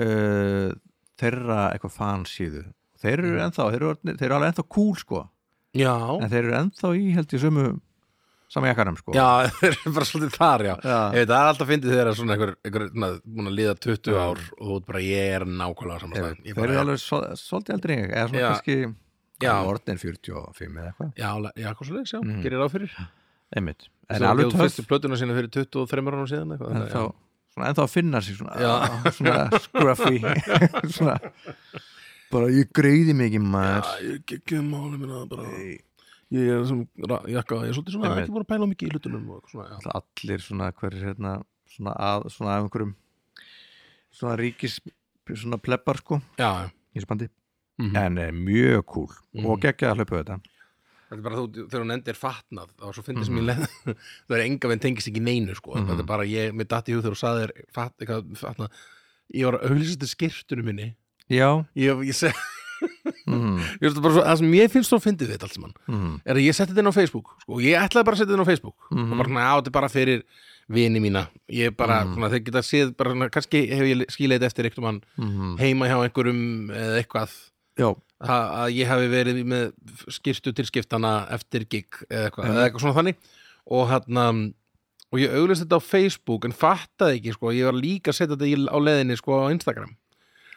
A: uh, þeirra eitthvað fansíðu þeir eru
B: Mhm.
A: ennþá, þeir eru, orðnir- þeir eru alveg ennþá cool sko,
B: Já.
A: en þeir eru ennþá í held ég sömu sama jakkanum sko
B: Já, (laughs) þeir eru bara svolítið þar, já.
A: Já.
B: Ég veit, það er alltaf fyndið þegar svona einhver, einhver na, búin að liða 20 ár og þú ert bara, ég er nákvæmlega á saman
A: Þeir,
B: stað. Ég
A: þeir
B: bara,
A: eru alveg svo, svolítið eldri en ég, eða svona
B: Já.
A: kannski
B: Já.
A: orðin 45 eða eitthvað
B: Já, la- já, hvað svolítið, já, gerir ráð fyrir.
A: einmitt,
B: Svo
A: Mm. en alveg
B: gerðu
A: töff
B: Fyrstu plötuna sína fyrir 23 árum síðan, eitthvað.
A: en
B: þannig
A: þá,
B: að-
A: svona, ennþá að finna sig svona,
B: Já.
A: á, (laughs) svona (laughs) scruffy svona, bara ég greiði mikið maður
B: Já, ég geggjum málum minna bara. Ég er sem, ra- jakka, ég er svolítið svona,
A: Einmitt.
B: ekki búin að pæla of mikið í hlutunum og eitthvað svona, já.
A: allir svona hverjir hérna svona að, svona af einhverjum svona ríkis svona plebbar sko
B: Já, já.
A: í spandi
B: Mhm.
A: en eh, mjög cool og geggja að hlaupa þetta
B: Þetta er bara þú, þegar hún endir fatnað þá svo fyndið
A: Mhm.
B: sem ég leð (laughs) það er enga veginn tengist ekki neinu sko þetta er bara ég, mér datt í hug þegar þú saði þér fat, eitthvað, fatnað, ég var að auðlýsa þetta skirtunum minni
A: já,
B: ég, ég seg,
A: mm,
B: ég veist það bara svo, það sem ég finnst svo fyndið við þetta allt saman
A: mm,
B: er að ég setti þetta inn á Facebook sko, og ég ætlaði bara að setja þetta inn á Facebook og bara svona, á, þetta er bara fyrir vini mína ég bara, svona, þeir geta séð bara, svona, kannski hef ég skilið þetta eftir einhvern mann heima hjá einhverjum eða eitthvað
A: Mm-hmm. já,
B: að að ég hafi verið með skýrtu til skiptana eftir gig eða eitthvað,
A: Mhm.
B: eða eitthvað svona þannig og hann og ég auglist þetta á Facebook en fattaði ekki sko, ég var líka að setja þetta í- á leðinni sko á Instagram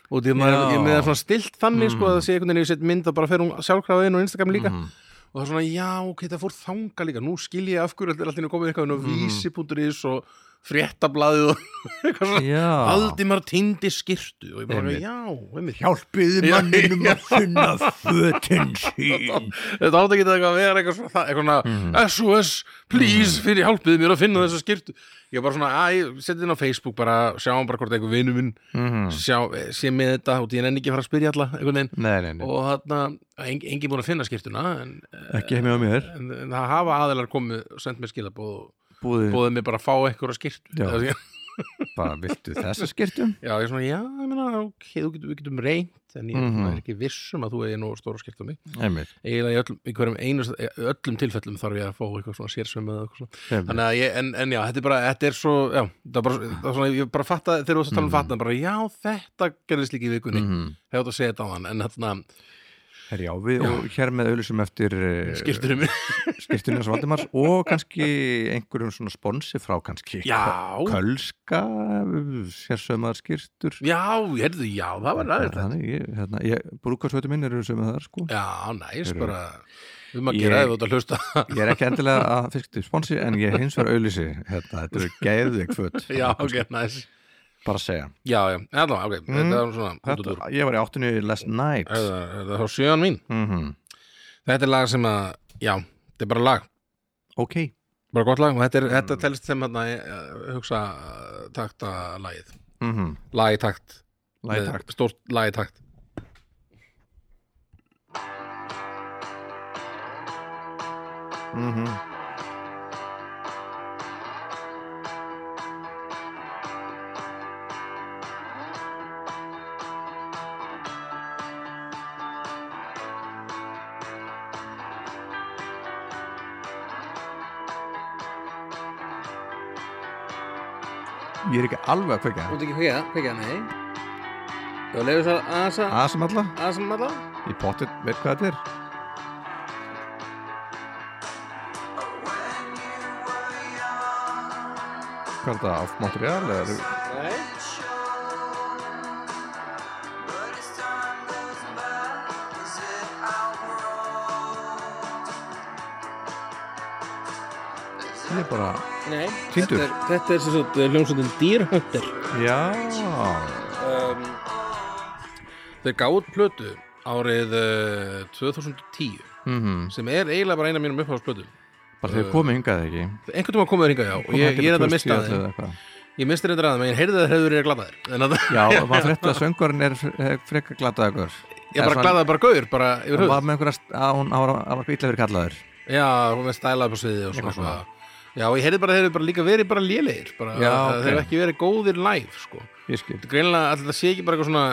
B: og því að maður
A: Já.
B: ég er með það svona stilt þannig sko að það sé einhvern veginn ég set mynd að bara fer hún sjálfkrafa inn á Instagram líka
A: Mhm.
B: og
A: Mhm.
B: það er svona já ok, þetta fór þanga líka nú skil ég af hverju allir allir komið eitthvað inn á vísi.is og fréttablaðið og eitthvað svona
A: Já.
B: Valdimar týndi skirtu og ég bara,
A: Einmitt.
B: já, einmitt
A: Hjálpiði
B: Já,
A: manninum að finna fötin sín
B: Þetta átt ekki þetta eitthvað að vera eitthvað svona, eitthvað svona
A: Mhm.
B: SOS, please, fyrir hjálpið mér að finna þessa skirtu Ég var bara svona, æ, setið inn á Facebook bara, sjáum bara hvort eitthvað vinur minn
A: Mhm. Mm-hmm.
B: sjá, sé með þetta og ég nenni ekki að fara að spyrja alla einhvern veginn
A: Nei, nei, nei,
B: og þarna, en, engin búin að finna skirtuna en,
A: ekki heim hjá mér
B: en, en það hafa aðilar komið og sendt mér skilabóð og
A: Búðið
B: bóðið mér bara að fá eitthvað skirtu
A: Já.
B: já,
A: bara, viltu þessa skirtum?
B: Já, ég er svona, já, ég meina, ok, þú getum, við getum reynt, en ég
A: Mhm.
B: er ekki viss um að þú eigi nú stóra skipta mig.
A: Einmitt,
B: Eiginlega í, öllum, í hverjum einast, öllum tilfellum þarf ég að fá eitthvað svona sérsveimað eða eitthvað svona.
A: einmitt.
B: Þannig að ég, en, en já, þetta er bara, þetta er svo, já, það er bara, það er svona, ég bara fatta, þegar þú varst að tala um fatna, bara, já, þetta gerðist líka í vikunni, mm
A: Mhm.
B: hefur þetta að segja þetta á hann, en þarna,
A: Herra, já, við og hér með auðlýsum eftir
B: skipturum
A: (laughs)
B: minn,
A: skirtunins Valdimars og kannski einhverjum svona sponsi frá kannski
B: já,
A: Kölska sérsömaðar skirtur
B: já, hérðu, já, það var ræðið þetta.
A: Þannig, ég, hérna, ég, brúkarsvötu minn eru sömaðar sko
B: Já, næs,
A: Eru-
B: bara, við
A: Ég-
B: maður gera ef þú ert að hlusta. (laughs)
A: Ég er ekki endilega að fyrstu sponsi en ég hins vegar auðlýsi hérna, þetta eru geðveik föt
B: (laughs) Já, ok, næs.
A: bara að segja
B: Já, já, allavega, ok, þetta var svona,
A: Mhm.
B: út og
A: þetta,
B: dúr.
A: Ég var í áttunni last night
B: Þetta þetta er þá sjöan mín
A: mm
B: Þetta er lag sem að, já, þetta er bara lag
A: Ok,
B: Bara gott lag og þetta, er,
A: Mm.
B: þetta telst sem hérna eh, hugsa eh, takta lagið
A: mm -hmm.
B: Lagi takt
A: læg
B: Með
A: takt
B: Stórt lagi takt
A: mm Ég er ekki alveg að kveika
B: ekki hvega, hvega, nei Já, leiðu svo aðsa,
A: Asamalla,
B: aðsa maður
A: í pottet, veit hvað þetta er Hvað er þetta, af Montreal? eða-
B: Nei
A: Ég er bara,
D: Nei,
A: Týndur.
D: þetta er, þetta er sem sagt eh, hljómsveitin Deer Hunter
A: já
D: um,
B: Þeir gáðu út plötu árið eh, 2010
A: mm
B: sem er eiginlega bara eina af mínum uppáðsplötu
A: Bara þeir komið hingað ekki
B: Einhvern tímann komið hringað, já, og ég, ég er þetta mistað þeim
A: þeim
B: Ég misti reyndar aðeins, en ég heyrði að þeir hefðu verið gladaðir En að
A: Já, maður frétti að söngurinn er frekka glatað ykkur
B: ég bara gladaði bara gaur, bara yfir
A: Hún
B: höfð
A: var með einhverja, st- að hún var eitthvað illa verið kallaður
B: Já, hún með stælaði bara sviðið og svona,
A: Eitthvað
B: svona. Já, og ég heyrði bara að þeir hefðu bara líka verið bara lélegir bara,
A: Já,
B: að
A: ok.
B: Þeir hefðu ekki verið góðir live, sko
A: Ég skil
B: Greinlega, alltaf sé ekki bara eitthvað svona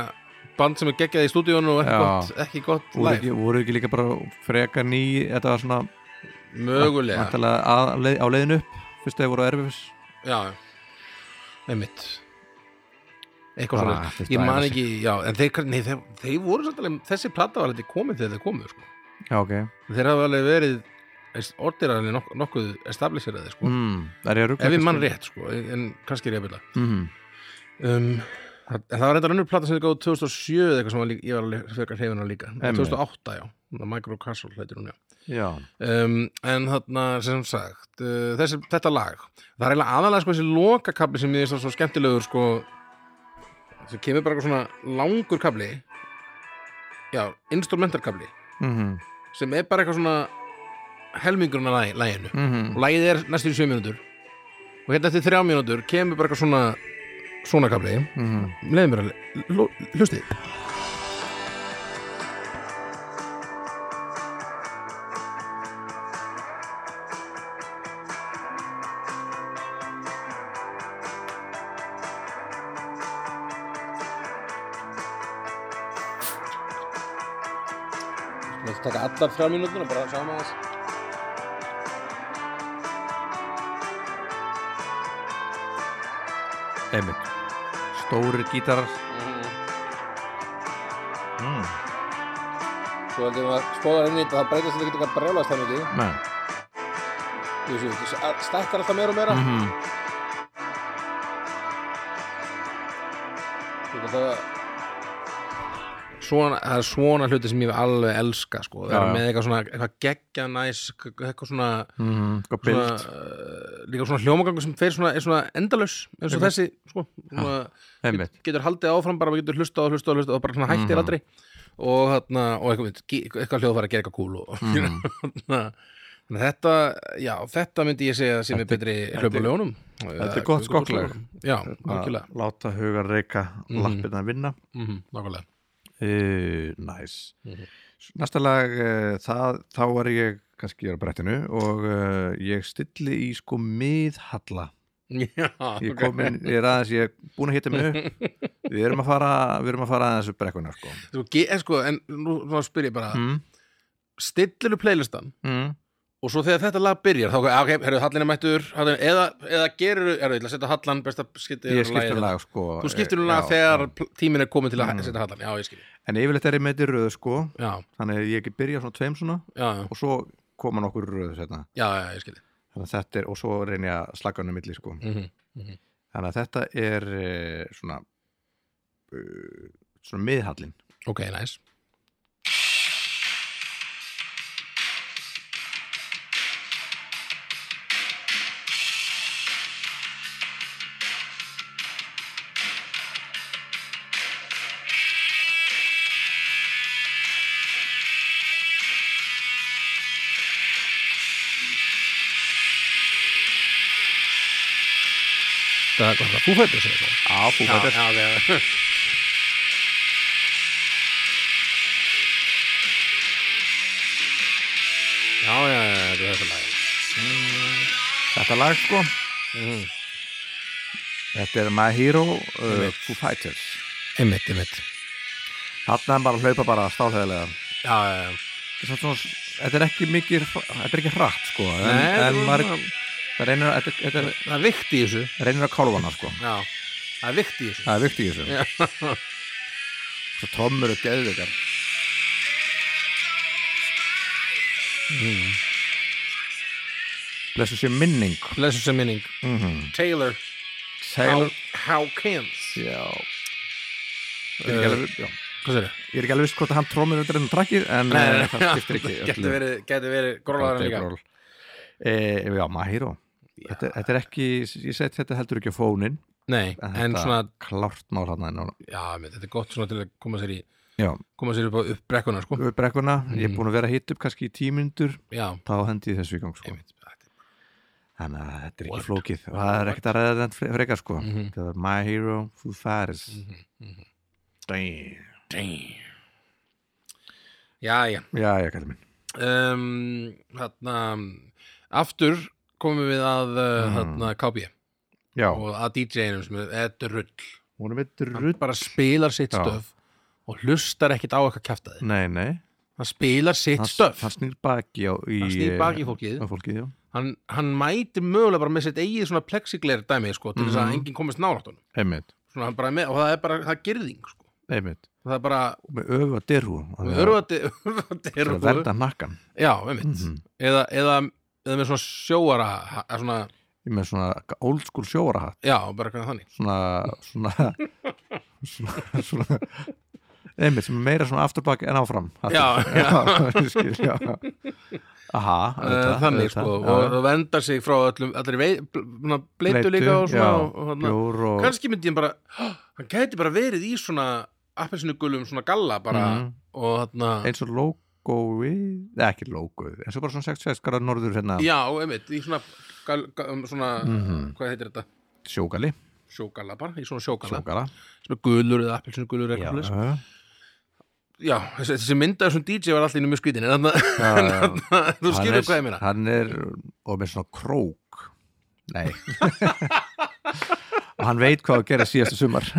B: band sem er geggjað í stúdíónu og ekki
A: Já.
B: gott, ekki gott
A: voru
B: live
A: ekki, voru ekki líka bara freka ný Þetta var svona
B: Mögulega,
A: væntanlega að- á leið- á leiðin upp Fyrst þegar voru á erfis
B: já Einmitt Eitthvað
A: Bara
B: svona,
A: þurfti
B: ég
A: að
B: man
A: æfa sig.
B: ekki Já, en þeir, nei, þeir, þeir voru samt alveg Þessi plata var alveg komið þegar þeir komu, sko
A: Já, ok
B: Þeir hafa alveg verið orðir alveg nokkuð, nokkuð establisheraði, sko
A: mm, Það er
B: Ef ég mann rétt, sko, en kannski er ég að byrja
A: mm,
B: um, það, það var reyndar önnur plata sem þið gáðu 2007 eða eitthvað sem var líka, ég var alveg frekar hreyfin á líka
A: Einmitt.
B: 2008 já, það er Micro Castle heitir hún já
A: Já,
B: um, en þarna sem sagt uh, þessi, þetta lag, það er eiginlega aðalega sko þessi lokakabli sem ég er svo skemmtilegur sko sem kemur bara eitthvað svona langur kabli já, instrumentarkabli
A: mhm,
B: sem er bara eitthvað svona helmingurinn af lagi- laginu
A: mhm
B: og lagið er næstu í sjö mínútur og hérna eftir þrjá mínútur kemur bara eitthvað svona svona kabli
A: Mhm.
B: leiði mér að lo- hlustið
D: Við taka allar þrjá mínútur og bara sjá með þess
A: Einmitt Stórir gítarar
B: Mhm.
A: mm.
D: Svo held ég að spóðar henni það breytast þetta ekki að brjálast það mikið
A: Nei
D: Jú, jú, Þetta stækkar alltaf meira og meira
A: mhm
D: Svo þetta
B: svona, það er svona hluti sem ég alveg elska sko, það
A: Já, já.
B: er með eitthvað svona eitthvað geggja næs, eitthvað svona,
A: mm, sko bild
B: Mhm. svona uh, líka svona hljómagangur sem fer svona, er svona endalaus eins og þessi sko, svona,
A: einmitt.
B: getur haldið áfram bara, maður getur hlustað og hlustað og hlustað og bara svona hættir
A: Mhm.
B: aldrei og, þarna, og eitthvað, eitthvað hljóð var að gera eitthvað kúl og, (laughs)
A: Mhm.
B: þannig að þetta já, þetta myndi ég segja sem er betri hljóðbáljónum
A: þetta er gott Hérna. skokklag.
B: já,
A: að
B: okkurlega,
A: láta hugan reyka mm.
B: Mhm.
A: lappirna að vinna
B: nákvæmlega (laughs)
A: uh, næs
B: Mhm.
A: næsta lag uh, það, þá er ég kannski ég er á brettinu og uh, ég stilli í sko miðhalla
B: já,
A: ég,
B: ok.
A: kom inn, ég er aðeins, ég er búin að hitta mig upp
B: (laughs)
A: við erum að fara, við erum að fara aðeins upp brekkuna sko
B: Sko, ge- en sko, en nú svona spyr ég bara
A: Mhm.
B: mm. stillirðu playlistan
A: mm.
B: og svo þegar þetta lag byrjar þá, ok, herrðu, hallin er mættur hallin, eða, eða gerur, herrðu, ég ætla að setja hallan besta skiptir
A: ég skiptir um lag sko
B: hérna. þú skiptir um
A: eh,
B: lag
A: já. Mhm.
B: þegar pl- tíminn er komin til að setja hallan já, ég skil,
A: en yfirleitt er ég með þetta í röðu sko
B: já,
A: þannig að ég ekki byrja svona tveim svona
B: já, já,
A: og svo koma nokkur röðu setna
B: já, já ég skil
A: þannig að þetta er, og svo reyni ég að slagga hann um milli sko
B: Mhm,
A: þannig að þetta er eh, svona eh, svona miðhallin
B: ok, næs það er hvað það, þú fættir sér það
A: á, fú, þetta er
B: já, já, já. Já, já, já, þetta er þetta lag
A: þetta lag sko
B: Mhm.
A: þetta er My Hero uh, Foo Fighters
B: Einmitt, einmitt
A: þarna er bara að hlaupa bara stálhæðilega
B: Já, já, já
A: þetta er, svona, þetta er ekki mikið þetta er ekki hratt sko en,
B: Nei,
A: en
B: þetta er
A: maður,
B: svona-
A: það reynir, að- þetta, þetta er,
B: Það er vikt í þessu
A: reynir að kálfa hana sko
B: Já, það er vikt í þessu
A: það er vikt í þessu svo trommur og geðveikar
B: Mm.
A: blessu sér minning
B: Blessu sem minning Mhm. Taylor
A: Taylor
B: Hawkins
A: Já Ég er
B: Eh.
A: ekki alveg, já.
B: Hvað sér þau?
A: Ég er ekki alveg viss hvort að hann trómið undir ennum trakkið en nei, nei, það skiptir ekki
B: Gæti verið, gæti verið grólaðar en líka
A: e, Já, Mahiro þetta, þetta er ekki, ég segi þetta heldur ekki á fónin
B: Nei, en
A: þetta
B: svona
A: klárt mál hann en,
B: Já, einmitt, þetta er gott svona til að koma sér í
A: Já,
B: koma sér upp á upp brekkuna, sko
A: við brekkuna ég er búin að vera hitt upp kannski í tímyndur
B: Já,
A: þá hendi ég þessu í gang sko.
B: einmitt Þetta
A: þannig að þetta er ekki
B: Word.
A: flókið og það er ekkert að reyða þetta fre- frekar sko
B: Mhm.
A: það er My Hero, Foo Fighters Damn
B: er- Damn Já, já
A: Já, já, kallið minn
B: um, þarna, aftur komum við að mm. þarna, KB
A: Já,
B: og að DJ-inum sem er þetta er rull
A: hún er með rutt
B: bara spilar sitt
A: Já.
B: stöf og hlustar ekkit á eitthvað kjaftaði
A: Nei, nei
B: hann spilar sitt
A: hann,
B: stöf
A: hann snýr baki á í, eh,
B: Hann snýr baki í fólkið.
A: á fólkið já.
B: hann, hann mæti mögulega bara með sitt eigið svona plexigler dæmi sko, til
A: Mhm.
B: þess að enginn komist nálátt honum
A: einmitt,
B: svona, hann bara er með, og það er bara það er girðing sko.
A: einmitt
B: það er bara
A: með öfu að derhú
B: (laughs) örfandi
A: til að verða nakkan
B: já, einmitt
A: Mhm.
B: eða, eða, eða með svona sjóara ha- svona,
A: Ég með svona old school sjóarahatt
B: já, bara eitthvað þannig
A: svona svona, svona, svona einmitt sem er meira svona afturbaki en áfram hattur. (laughs)
B: Já, já.
A: ég skil, já. aha
B: uh, þannig sko og og verndar sig frá öllum, allir vei, bl- svona bleitu líka og svona og, og, þarna-
A: bjór og
B: kannski myndi ég bara hann gæti bara verið í svona appelsinugulum svona galla bara
A: Mhm.
B: og þarna
A: eins og logoið eða ekki logoið, eins og bara svona 66 skara norður hérna
B: já, einmitt, í svona, gal, gal, um, svona
A: Mhm.
B: hvað heitir þetta,
A: sjógali,
B: sjógalla bara í svona sjógalla,
A: sjógala
B: svona gulur eða appelsinugulur eða eitthvað svoleiðis. (laughs) já, þessi, þessi mynda þessum DJ var allir mjög skrítin en þarna, (laughs) en
A: já.
B: þarna þú
A: Hann
B: skilur
A: er-
B: hvað ég meina
A: hann er og með svona krók
B: (laughs)
A: nei og hann veit hvað að gera síðasta sumar
B: (laughs)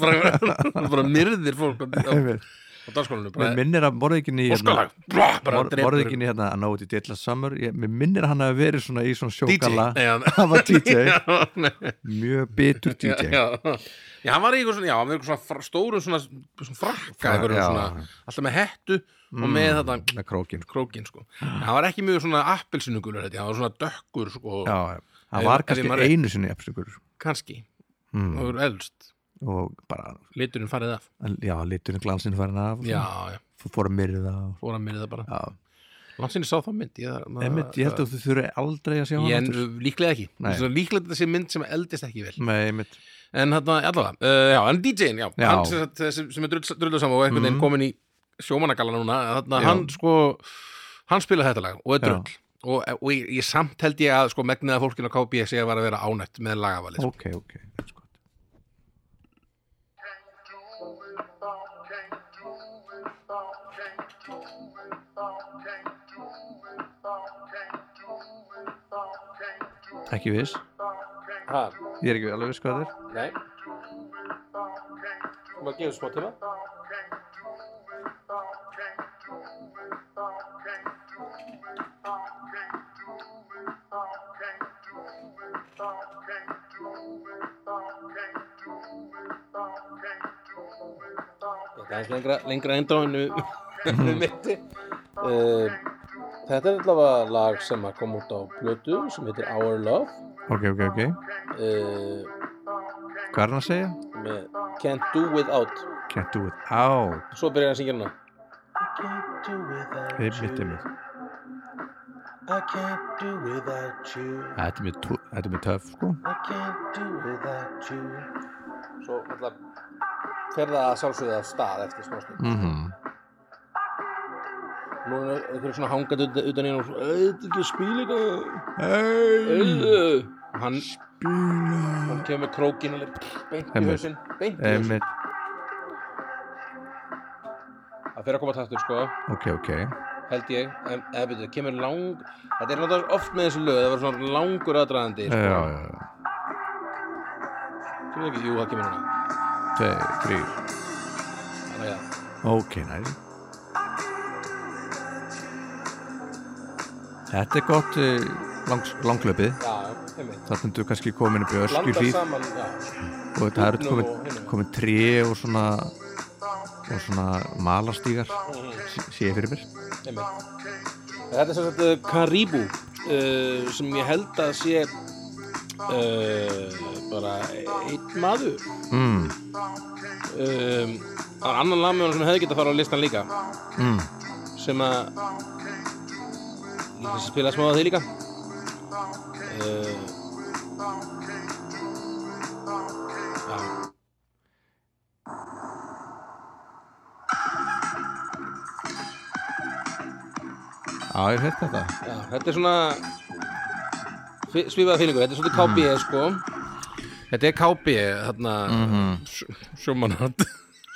B: bara, (laughs) bara myrðir fólk á,
A: (laughs)
B: á,
A: við
B: á dagskólanu bara,
A: minnir að morðikinn í
B: óskalag, blá, bara drepur-
A: morðikinn hérna. í hérna að náði dilla samur ég, mér minnir að hann hafi verið svona í svona
B: DJ
A: sjókala
B: Nei, hann-
A: (laughs) hann var DJ,
B: (laughs) Já, nei.
A: mjög bitur DJ
B: (laughs) já, já, hann var í eitthvað svona, já, hann var í eitthvað svona fr- stórum svona, svona frakka, eitthvað
A: já. Mm.
B: svona, alltaf með hettu og með þetta
A: með krókin sko.
B: krókin, sko. Hann var ekki mjög svona appelsinugulur, þetta, hann var svona dökkur, sko,
A: já, já.
B: Ef-
A: hann var
B: ef ég
A: kannski
B: man rétt.
A: einu sinni epsingur
B: kannski,
A: Mm.
B: og er eldst.
A: og bara,
B: liturinn farið af
A: já, liturinn glansinn farin af og
B: já,
A: svona.
B: já,
A: F- fór að myrða og,
B: fór að myrða bara
A: já,
B: landsinni sá þá mynd ég, það-
A: Einmitt, ég held að þú þurfi aldrei að sjá hann
B: Ég en,
A: aftur.
B: líklega ekki,
A: Nei.
B: Svo líklega þetta sé mynd sem eldist ekki vel
A: Nei, einmitt
B: en hérna, allavega, uh, já, en DJ-in já,
A: Já. Mhm.
B: hann sem, sagt, eh, sem, sem er drullu saman og einhvern veginn komin í sjómanagalla núna þarna,
A: Já.
B: hann sko hann spila þetta lag og er
A: Já.
B: drull og, eh, og ég, ég samt held ég að sko megnið að fólkinu á KB sé að vera að vera ánætt með lagavalið sko.
A: Ok, ok eins gott. Ekki viss
B: ha,
A: Ég er ekki alveg viss hvað það er
B: nei maður gefur smá tíma Þetta er aðeins lengra, lengra (laughs) endráinu við mitti uh, Þetta er allavega lag sem að kom út á blötu sem heitir Our Love
A: Ok, ok, ok
B: uh,
A: Hvað er hann að segja?
B: með Can't Do Without
A: Can't do it Out
B: Svo byrjar hann að syngja hana
A: Einmitt, einmitt
F: I can't do without you.
A: Þetta er mjög tú- þetta er mjög töff, sko
F: I can't do without you.
B: Svo alltaf fer það að sjálfsögða af stað eftir smá stund
A: Mhm.
B: Nú er einhverjum svona hangandi utan- utan í hann og svo "Ey, Þetta er ekki að spila eitthvað
A: Hey
B: "Ey." Og Hann Hann kemur með krókin alveg beint í
A: Einmitt.
B: hausinn Beint í hausinn
A: Einmitt
B: Það fer að koma taktur sko
A: Ok, ok
B: held ég en eða betur, það kemur lang þetta er náttúrulega oft með þessu lög það var svona langur aðdraðandi
A: Já, já, já
B: kemur ekki, jú, það kemur núna
A: Tveir, þrýr
B: þannig að
A: Ok, næri Þetta er gott eh, langs, langlöpið
B: já, já, heimmi
A: Það myndu kannski komin upp í
B: blanda
A: öskjuhlíð
B: saman, já
A: og það eru
B: húnum og
A: komin,
B: hinum.
A: komin tré og svona og svona malastígar sé ég fyrir mér
B: heimmi þetta er sem sagt uh, Caribou uh, sem ég held að sé uh, bara einn maður
A: mm,
B: um, það er annan lagmjón sem hefði getað fara á listan líka
A: mm.
B: sem að ég finnst að spila smá að því líka uh, já
A: Já, ég hef heyrt þetta
B: Já, þetta er svona fi- svipaða fílingur, þetta er svolítið KB sko Þetta er KB þarna mm
A: Mhm.
B: -hmm. sjómanat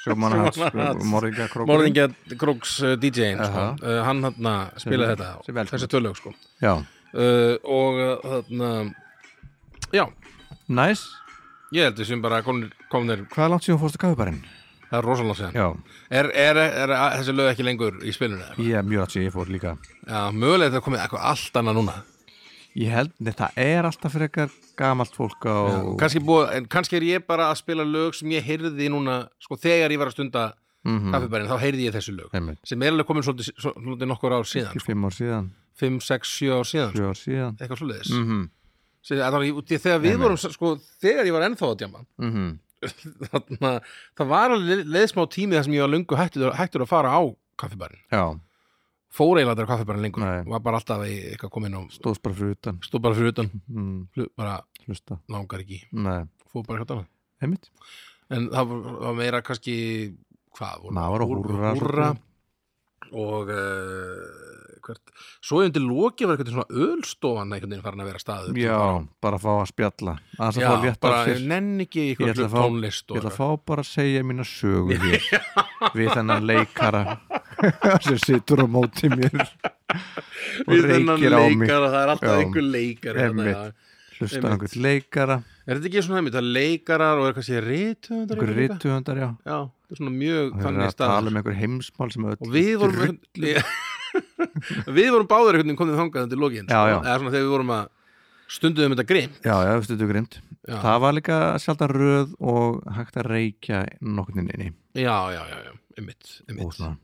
A: Sjómanahats,
B: Sjómanahats.
A: morðingja krókur
B: Morðingja Króks uh, DJ-in sko.
A: Aha.
B: uh, hann þarna spilaði þetta
A: sem velkomin.
B: þessi tölög sko
A: Já,
B: uh, og uh, þarna já,
A: næs
B: ég held við sem bara komnir, komnir
A: Hvað er langt síðan fórstu kafubarinn?
B: það er rosalega séðan
A: Já,
B: er, er, er, er þessi lög ekki lengur í spilinu? eða?
A: ég er mjög langt síðan ég fór líka
B: Já, mögulega þetta komið eitthvað allt annað núna
A: Ég held, nei, það er alltaf frekar gamalt fólk á
B: kannski, búið, en kannski er ég bara að spila lög sem ég heyrði núna sko, þegar ég var að stunda mm þá heyrði ég þessu lög
A: Mhm. Einmitt.
B: sem er alveg komin svolítið, svolítið nokkur ár síðan sko.
A: Fimm ár síðan,
B: 5, 6, 7 ár síðan sko.
A: sjö ár síðan
B: eitthvað svoleiðis mm -hmm. þegar við vorum sko, þegar ég var ennþá að (laughs) djama
A: mm
B: þannig að það var alveg leðsmá tími þar sem ég var lungu hættur, hættur að fara á kaffibarinn
A: Já,
B: fór eiginlega aldrei á kaffibarinn lengur
A: Nei.
B: var bara alltaf í- eitthvað komin og
A: stóðst bara fyrir utan
B: stóð bara fyrir utan
A: mm,
B: hlu- bara
A: Hlusta,
B: langar ekki
A: nei,
B: fór bara eitthvað annað
A: einmitt
B: en það var, var meira kannski hvað voru
A: Maður og húrra,
B: húrra og uh, hvert svo ég undir loki var eitthvað svona ölstofan einhvern veginn farin að vera staður
A: Já, bara fá að spjalla Aðeins að
B: Já,
A: fá að létta
B: bara
A: af sér
B: nenn ekki
A: Ég ætla
B: eitthvað
A: að
B: hlut
A: fá-
B: tónlist
A: Ég
B: og
A: ætla að fá bara að segja mína
B: (laughs)
A: sögu hér Við þennan leikara sem situr á móti mér og
B: Við þennan
A: reykir á mig
B: leikara, það er alltaf
A: Já.
B: einhver leikar
A: Einmitt. Hlustar
B: Einmitt.
A: einhvern leikara
B: er þetta ekki svona heimitt að leikarar og er kannski rithöfundar
A: einhver
B: líka?
A: rituðundar, já
B: já, þetta er svona mjög
A: Það er
B: þannig
A: að tala
B: staður
A: um einhver heimsmál sem öll
B: og við vorum (laughs) einhvern- við vorum báður einhvern veginn komið þangað undir lokin
A: Já, já.
B: sko. eða svona þegar við vorum að stunduðum þetta grimm
A: Já, já, stundu grimt
B: Já.
A: Það var líka sjaldan röð og hægt að reykja nokkninni
B: já, já, já, já, einmitt, einmitt.
A: og, svona.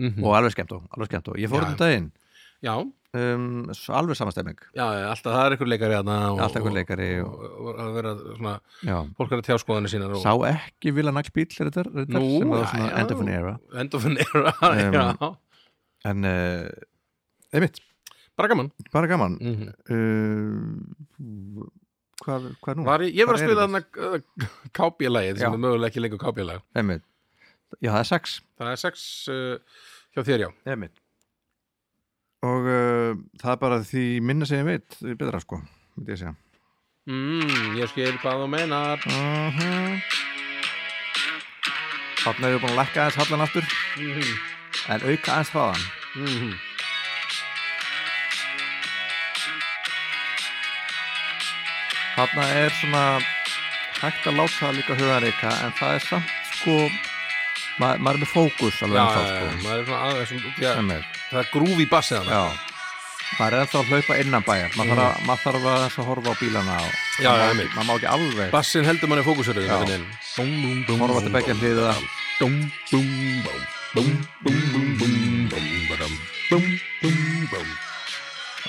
B: Mhm.
A: og alveg skemmt og alveg skemmt og ég fór
B: Já,
A: þetta daginn
B: já,
A: um, s- alveg samastemming
B: já, já, alltaf það er einhver leikari hérna og,
A: Alltaf einhver leikari
B: og, og, og að vera svona,
A: já.
B: fólk er að tjá skoðanir sínar og
A: sá ekki Vila Naglbíl þetta, þetta
B: Nú,
A: sem var svona
B: já,
A: end of an era
B: end of an era,
A: Em,
B: já
A: en uh, einmitt,
B: bara gaman
A: bara gaman
B: mm
A: uh, hvað, hvað nú?
B: Hm. Var, ég- ég var
A: Hvar
B: að spila
A: eru
B: þarna kábjalagið sem
A: Já.
B: er mögulega ekki lengur kábjalag
A: einmitt, já það er sex
B: það er sex uh, hjá þér já
A: einmitt og uh, það er bara því minna sem ég veit, því betra sko myndi ég segja
B: mm, ég skil hvað þú menar
A: Þarna Mhm. erum við búin að lækka aðeins hallan aftur
B: Mhm.
A: en auka aðeins hraðan Þarna er svona hægt að láta það líka hugan reyka en það er samt sko ma maður er með fókus alveg
B: já,
A: ennþá
B: já, já,
A: sko
B: maður er svona aðeins um- já,
A: Einmitt.
B: það er grúf í bassið hana
A: Já maður er ennþá að hlaupa innan bæjar maður þarf að, maður þarf að, að horfa á bílana og
B: Mhm. Já, já,
A: maður,
B: einmitt.
A: maður má ekki alveg
B: bassin heldur manni fókusur
A: Já. horfa til begja hliða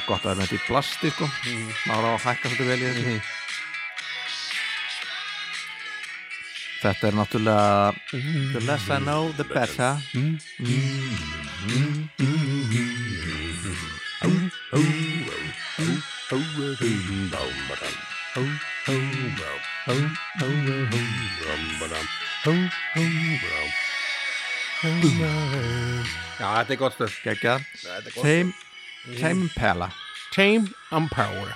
A: gott að það er með þetta í plasti sko maður á að hækka svolítið vel í þessu þetta er náttúrulega the less I know the better
B: já, þetta er gott stöð
A: geggja Tame Tame Impala
B: Tame and Power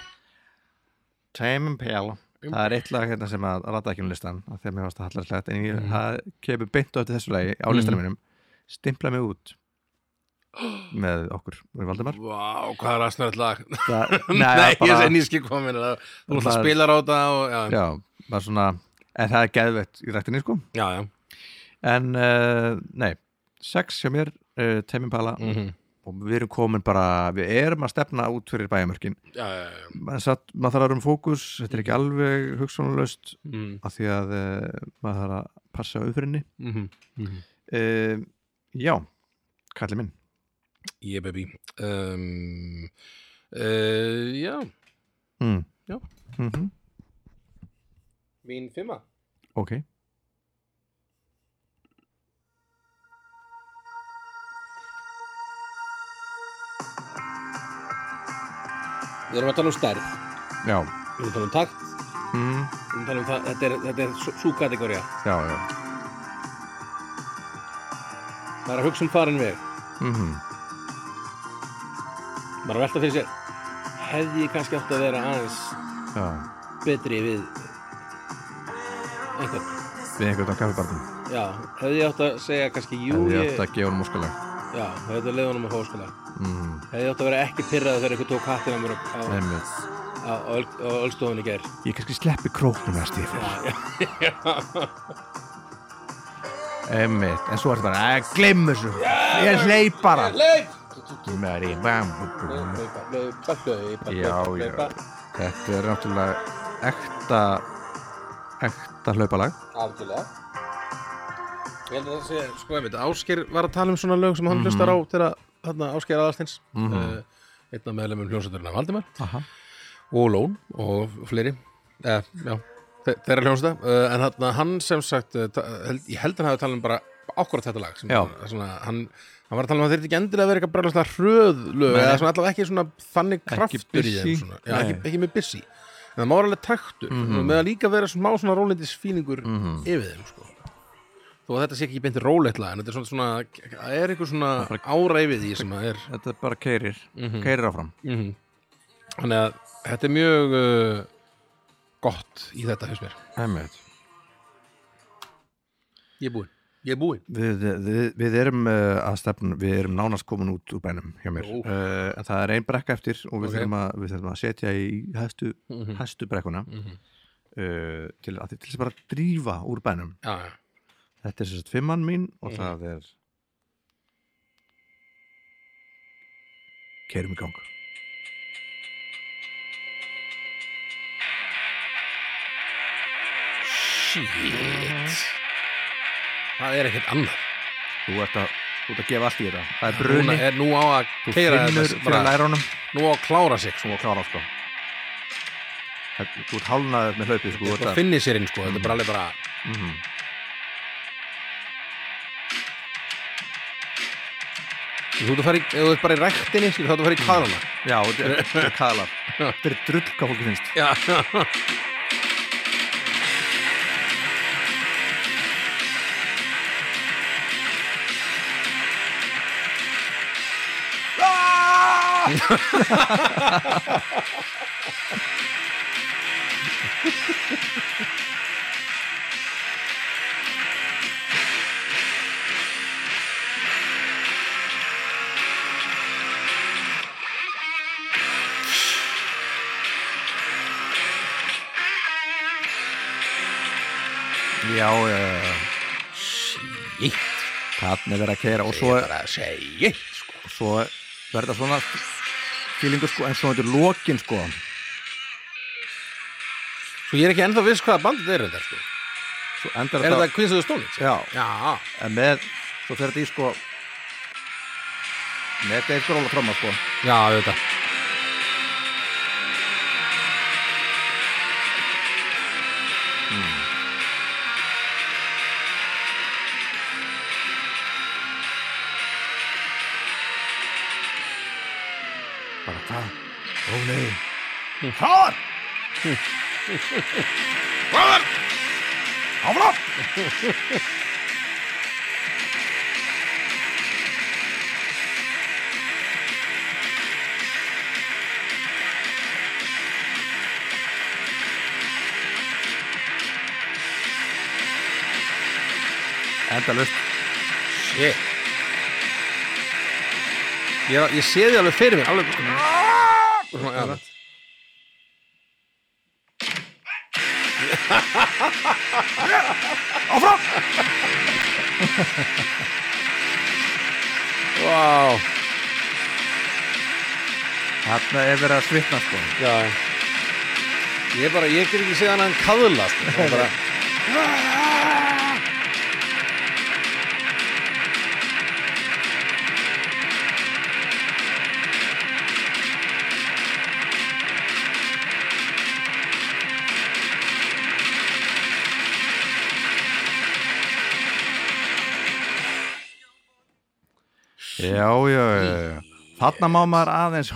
A: Tame Impala
B: Um-
A: það er eitt lag hérna sem að rata ekki um listan af því að mér varst að hallar slætt en ég
B: Mhm.
A: það kemur beint á eftir þessu lagi á listanum mínum Stimpla mig
B: (gasps)
A: út með okkur og
B: (laughs)
A: Valdimar
B: Vá, hvað er aðsnært lag
A: það,
B: Nei, ég
A: bara-
B: er nýskil komin Þú ætla
A: Það-
B: að spila á þetta og, já,
A: já, bara svona en það er geðveitt í rættinni sko
B: já, já.
A: en uh, nei, sex hjá mér uh, Tame Impala
B: Mhm.
A: og við erum komin bara, við erum að stefna út fyrir bæjamörkin
B: já, já, já.
A: maður satt- maður þarf að vera um fókus, þetta er
B: Mhm.
A: ekki alveg hugsanlaust
B: Mm.
A: af því að uh, maður þarf að passa auðfyrinni
B: Mhm.
A: uh, já, kallið minn
B: Yeah, baby um, uh, Já,
A: mm.
B: Já.
A: Mhm.
B: mín fimma
A: ok
B: Við erum að tala um stærð,
A: já,
B: við erum að tala um takt Við
A: mm.
B: erum að tala um það, þetta er, þetta er sú- sú kategória
A: já, já
B: Maður er að hugsa um farin veg
A: mm
B: Maður er að velta fyrir sér Hefði ég kannski átt að vera aðeins
A: já,
B: betri við einhvern
A: við einhvern veginn á kaffibarnum
B: Já, hefði ég átt að segja kannski jú
A: hefði ég
B: ég,
A: átt að gefa honum óskalag
B: Já, hefði að leiða honum að fóskala
A: mm.
B: Hefði ég átt að vera ekki pyrrað þegar einhver tók hattina mér á, á,
A: einmitt.
B: á, á, öld- á öllstofunni ger
A: ég kannski sleppi króknum næst ég fyrir
B: (laughs)
A: Einmitt, en svo er þetta bara, að glemm þessu Ég hleyp bara
B: Leif!
A: Mary, bam, bú, bú, bú.
B: Laupa, laupa, laupa,
A: Já, já Þetta er náttúrulega ekta ekta hlaupalag
B: Algjörlega Ég held að það sé Sko einmitt, Ásker var að tala um svona lög sem hann hlustar á til að þarna, Ásker aðalstins mm -hmm. uh, einn af meðlemum hljónsætturinn af Valdimar
A: Aha.
B: og Lón og fleiri eh, já, þe- þeirra hljónsætta uh, en hann, hann sem sagt uh, ta- held, ég held hann hafi talað um bara akkurat þetta lag sem,
A: Já.
B: svona, hann, hann var að tala um að þetta ekki endilega verið eitthvað brælast hröð lög
A: Nei.
B: eða svona, allavega ekki svona þannig kraftur í
A: busy.
B: þeim svona. já,
A: Nei. Mhm.
B: ekki, ekki með busy en það má alveg taktur mm -hmm. með að líka vera smá svona rólindis fílingur yfir þeim sko þó að þetta sé ekki beint róleitla en þetta er svona, svona það er einhver svona ára yfir því sem að er
A: Þetta er bara keirir, keirir áfram
B: þannig að þetta er mjög uh, gott í þetta hefst mér
A: Einmitt
B: ég er búinn ég er búinn
A: Við, við, við erum uh, að stefna, við erum nánast komin út úr bænum hjá mér
B: Jú.
A: uh, en það er ein brekka eftir og við,
B: Ok.
A: þurfum, að, við þurfum að setja í hæstu, hæstu brekkuna uh, til, að, til þess að bara drífa úr bænum
B: já, já
A: Þetta er sérst fimmann mín og það er Kerum í gang
B: shit það er ekkert annað
A: Þú ert að þú ert að gefa allt í þetta það er
B: Núna
A: bruni,
B: er nú á að
A: þú
B: keira
A: finnur
B: þetta
A: fyrir
B: bara,
A: lærunum
B: Nú á að klára sig sko
A: og klára sko Það- þú ert hálnaður með hlaupið sko, þú ert
B: Það
A: að- Mhm.
B: finnir sér inn sko, þetta er bara alveg bara Þú ert að fara í, ef þú ert bara í ræktinni, skilur þá ert að fara í kaðlana
A: já, þetta er- þetta er kaðlar þetta er drull hvað fólki finnst
B: Já
A: já, já, já, já
B: Ég
A: þannig verið að keira og svo
B: er bara að segja sko
A: og svo verður það svona fílingur sko, en svo þetta er lokin sko
B: Svo Sko, ég er ekki ennþá viss hvaða bandið er þetta sko
A: svo endar
B: Er
A: þetta,
B: þetta Queens of the Stone Age?
A: já,
B: Já,
A: en með svo fer þetta í sko með Dave Grohl að tromma sko
B: já, þetta
A: bara hvað, ó nei hraðar hraðar áfram endalust
B: Shit Ég, er, ég sé þið alveg fyrir mér alveg
A: sko.
B: svona, já, (laughs)
A: áfram
B: Vá
A: þarna er verið að svitna sko
B: Já Ég bara, ég get ekki séð hann hann kaðla sko. Það er bara
A: já, já, já, já þarna má maður aðeins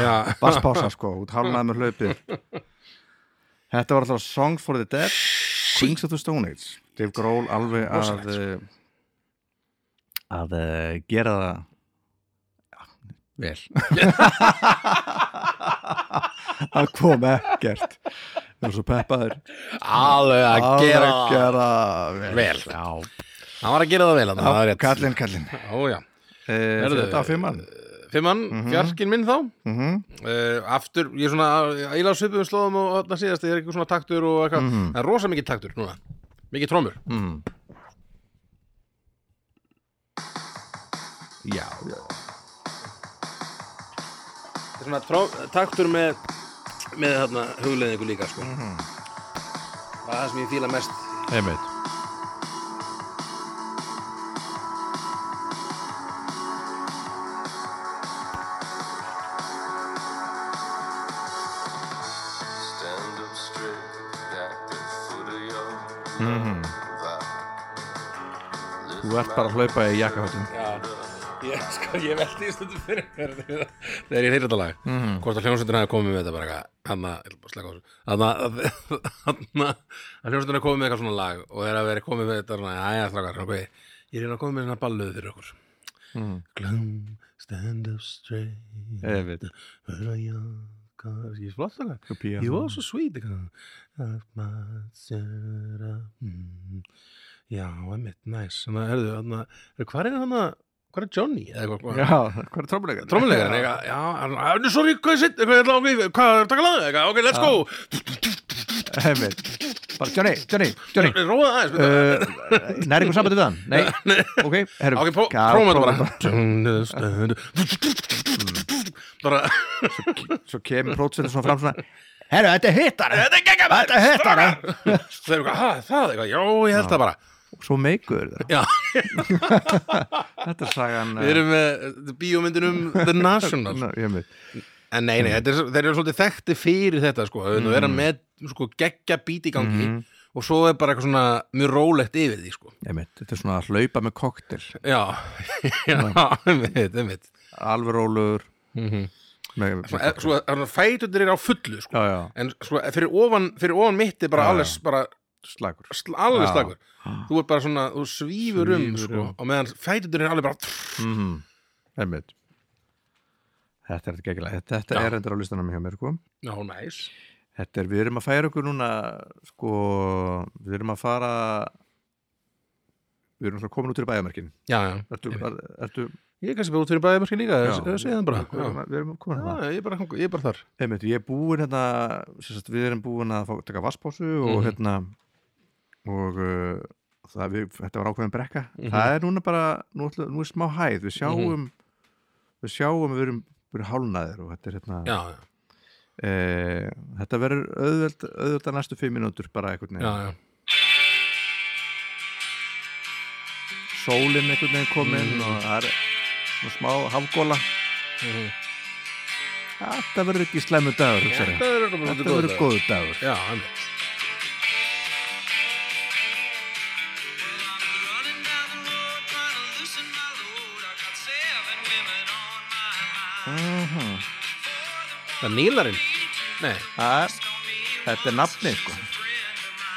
B: Já,
A: basspása sko, út hálnaði með hlaupið þetta var alltaf Songs for the Dead Queens of the Stone Age Dave Grohl alveg að
B: sko.
A: eh, að eh, gera það já, vel að koma ekkert það var svo peppaður
B: alveg að
A: Alveg
B: gera það
A: gera það vel,
B: vel Já Hann var að gera það vel hann, það er rétt
A: kallinn, kallinn
B: Ó, já
A: Eh,
B: Herðu,
A: þetta á fimmann
B: Fimmann, mm
A: Mhm.
B: fjarkinn minn þá
A: mm -hmm.
B: uh, Aftur, ég er svona Íla svipum slóðum og þarna síðast Ég er eitthvað svona taktur og eitthvað
A: Mhm.
B: Það er rosa mikið taktur núna Mikið trómur
A: já, já,
B: Þetta er svona tró, taktur með með þarna hugleðingu líka sko. það er það sem ég fíla mest
A: Mhm. einmitt
G: Stand up straight at the foot of your
A: Þú ert bara að hlaupa í jakkafötum
B: ég, sko, ég veldi í stundu fyrir mér þegar- þegar ég heyrði þetta lag hvort að hljónsveitin hafi komið með þetta bara eitthvað hann að hann að hljónsveitin hafi komið með eitthvað svona lag og þegar að veri komið með þetta svona, aðja strákar ok, ég er að komið með svona balluð fyrir okkur glum, stand up straight
A: Einmitt
B: Where are your cars? Ég er flott þakka
A: Kopía.
B: You are so sweet eitthvað. That's my Sarah. Mm. Já, emitt, næs Þannig að, herðu, þannig að Hvað er hann að, hvað er Johnny? Eða
A: Já,
B: hvað,
A: hvað er trómuleikar?
B: trómulegar eitthvað Já, hann er svo rík, hvað er sitt Hvað er það, ok, hvað er taka laga eitthvað Ok, let's go
A: Einmitt Bara Johnny, Johnny, Johnny
B: Róða aðeins uh,
A: uh, Næri ykkur sambandi við hann?
B: (laughs)
A: Nei, ok, herrum
B: Ok, pró- prófum þetta bara Stand up, stand up. (laughs) Bara
A: Svo kemur prótsendur svona fram svona Herru, þetta er hittara
B: Þetta er geggjað maður,
A: Þetta er hittara
B: Það er eitthvað, ha, það eitthvað Já, ég held það bara
A: Svo meikur það
B: Já
A: Þetta er sagan
B: Við erum með uh, bíómyndin um The National
A: Ná, ég veit.
B: En nei, nei,
A: Mhm.
B: þetta er, þeir eru svolítið þekkti fyrir þetta sko, mm. er hann með sko, geggja bít í gangi
A: Mhm.
B: og svo er bara eitthvað svona mjög rólegt yfir því sko.
A: Ég veit, Þetta er svona að hlaupa með koktel
B: Já, (laughs) já, einmitt, einmitt
A: Alveg rólugur með, með
B: Svo, Mhm. e-
A: kokteil.
B: svo er hann fætundir er á fullu sko.
A: Já, já,
B: en sko, fyrir ofan, fyrir ofan mitt er bara
A: Já,
B: alveg,
A: já.
B: bara,
A: slagur
B: sl- alveg
A: Já.
B: slagur þú er bara svona, þú svífur um
A: Svífur
B: sko,
A: um.
B: og meðan fætundir er alveg bara
A: mm. Einmitt Þetta er þetta geggilega Þetta, þetta
B: Já.
A: er endur á listanum hjá mér sko.
B: já, næs
A: Þetta er, við erum að færa okkur núna sko, við erum að fara við erum svona komin út fyrir bæjarmerkin
B: já, já.
A: Ertu, er, ertu
B: ég er kannski bara út fyrir bæðumörki líka
A: Já.
B: ég segi það bara
A: við erum,
B: já.
A: við erum komin
B: Já,
A: að
B: ég, er bara, ég er bara þar
A: Einmitt, ég er búin hérna sem sagt, við erum búin að fá, taka vasspásu
B: Mhm.
A: og hérna og uh, það, við, þetta var ákveðin brekka
B: Mhm.
A: það er núna bara, nú, ætla, nú er smá hæð við sjáum við sjáum að við erum, við erum hálnaðir og þetta er hérna
B: já, já,
A: e, þetta verður auðveld, auðvelda næstu fimm mínútur bara einhvern
B: já,
A: veginn
B: já.
A: sólinn einhvern veginn komin
B: Mm.
A: og það er svona smá hafgóla þetta verður ekki slæmu dagur hugsar ég.
B: Mm. þetta verður bara
A: þetta
B: svolítið
A: verður
B: góður dagur.
A: góðu dagur
B: já, einmitt það er nýlarinn nei,
A: Það er- þetta er nafni sko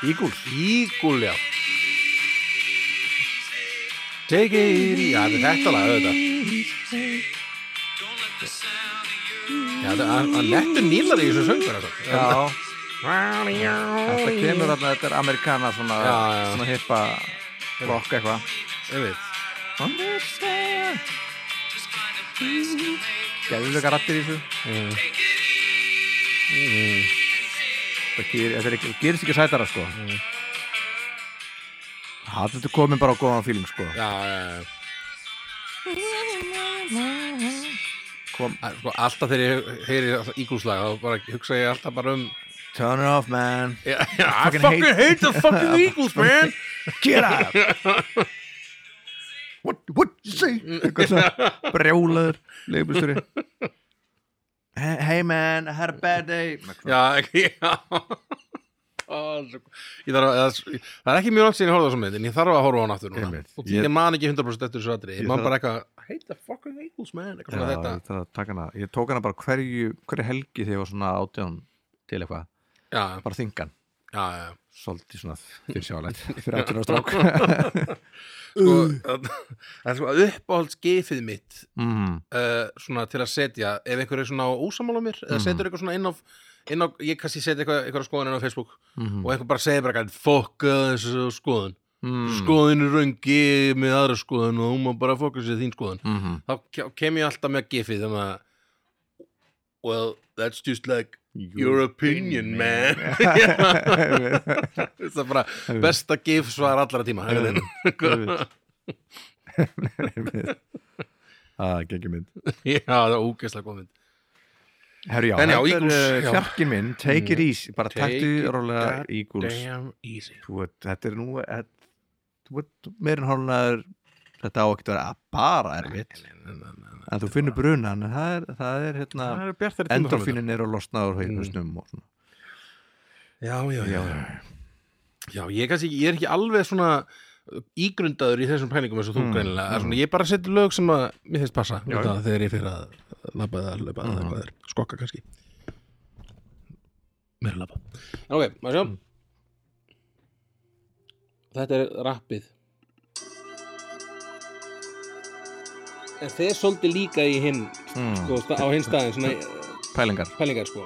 B: Íguls Ígul, já Take it Já, þetta er þetta lag, auðvitað Já, það er- það er nettur nýlar í þessu söngur Já,
A: já, þetta kemur þarna þetta er amerikana svona,
B: Já, já.
A: svona hippa rock eitthvað
B: ég veit
A: Gæðulega rattir í þessu Mm. Það ger- þetta er ekki- gerist ekki sætara sko Það þetta er komin bara á góðan fíling sko
B: Já, já, já
A: Kom.
B: Æ, Sko, alltaf þegar ég heyri ígulslag þá bara hugsa ég alltaf bara um
A: Turn it off man
B: (laughs) Já, já, I
A: Fucking
B: fucking
A: hate-
B: hate the fucking Eagles, man
A: Get up (laughs) What, what you say Eitthvað svona Brjólaður Leifbúlstöri Hey man, I had a bad day
B: Já, ekki, já (laughs) Ó, svo- Ég þarf að, eða- það er ekki mjög langt síðan ég horfði á þessu mynd en ég þarf að horfa á hann aftur núna
A: Einmitt.
B: og ég,
A: Ég-
B: ég man ekki 100% eftir þessu aðri
A: Ég
B: ég man
A: þarf-
B: bara eitthvað, hate the fucking Eagles man eitthvað
A: Já,
B: svona
A: ég,
B: þetta
A: þarf að taka hana. ég tók hana bara hverju, hverju helgi þegar ég var svona átján til eitthvað,
B: já,
A: bara þingan
B: já, já, já.
A: svolítið svona fyrir
B: (laughs)
A: sjálega fyrir átján á strák (laughs)
B: Sko, það það er sko uppáhaldsgefið mitt
A: mm,
B: uh, svona til að setja ef einhver er svona á ósamála mér eða setur eitthvað svona inn á, inn á ég kannski setja eitthvað, eitthvað skoðun inn á Facebook
A: mhm,
B: og einhver bara segir bara eitthvað fuck uh, þessu skoðun
A: mm,
B: skoðun er röngi með aðra skoðun og hún má bara fokka sér þín skoðun
A: mm -hmm.
B: þá ke- kem ég alltaf með gifið þannig að well, that's just like your opinion, man (laughs) það er bara besta gif svar allra tíma einhvern veginn.
A: (laughs) Það gekk ég mynd
B: (laughs) já, það er ógeðslega góð mynd
A: Herru já,
B: En já,
A: þetta er uh,
B: Eagles, já. Mm.
A: fjarkinn minn Take it easy, bara
B: Take it
A: taktu rólega
B: that
A: Eagles
B: damn easy
A: Þú veit, þetta er nú þetta- þú veit, meirinn hálfnaður þetta á ekkert að vera bara erfitt en þú finnur brunan en það er, það er hérna
B: er bjartari
A: endorfinin eru að losna úr hausnum og svona
B: já, já, já, já. já ég, er kannski, ég er ekki alveg svona uh, ígrundaður í þessum pælingum eins og þú greinilega mm. svona, ég bara seti lög sem að mér finnst passa já, Mm. það, þegar ég fyrir að labba eða hlaupa eða hvað er, skokka kannski meira labba en ok, maður sjá þetta er rappið en þeir svolítið líka í hinn
A: mm.
B: sko, á hinn staðin svona
A: pælingar
B: pælingar sko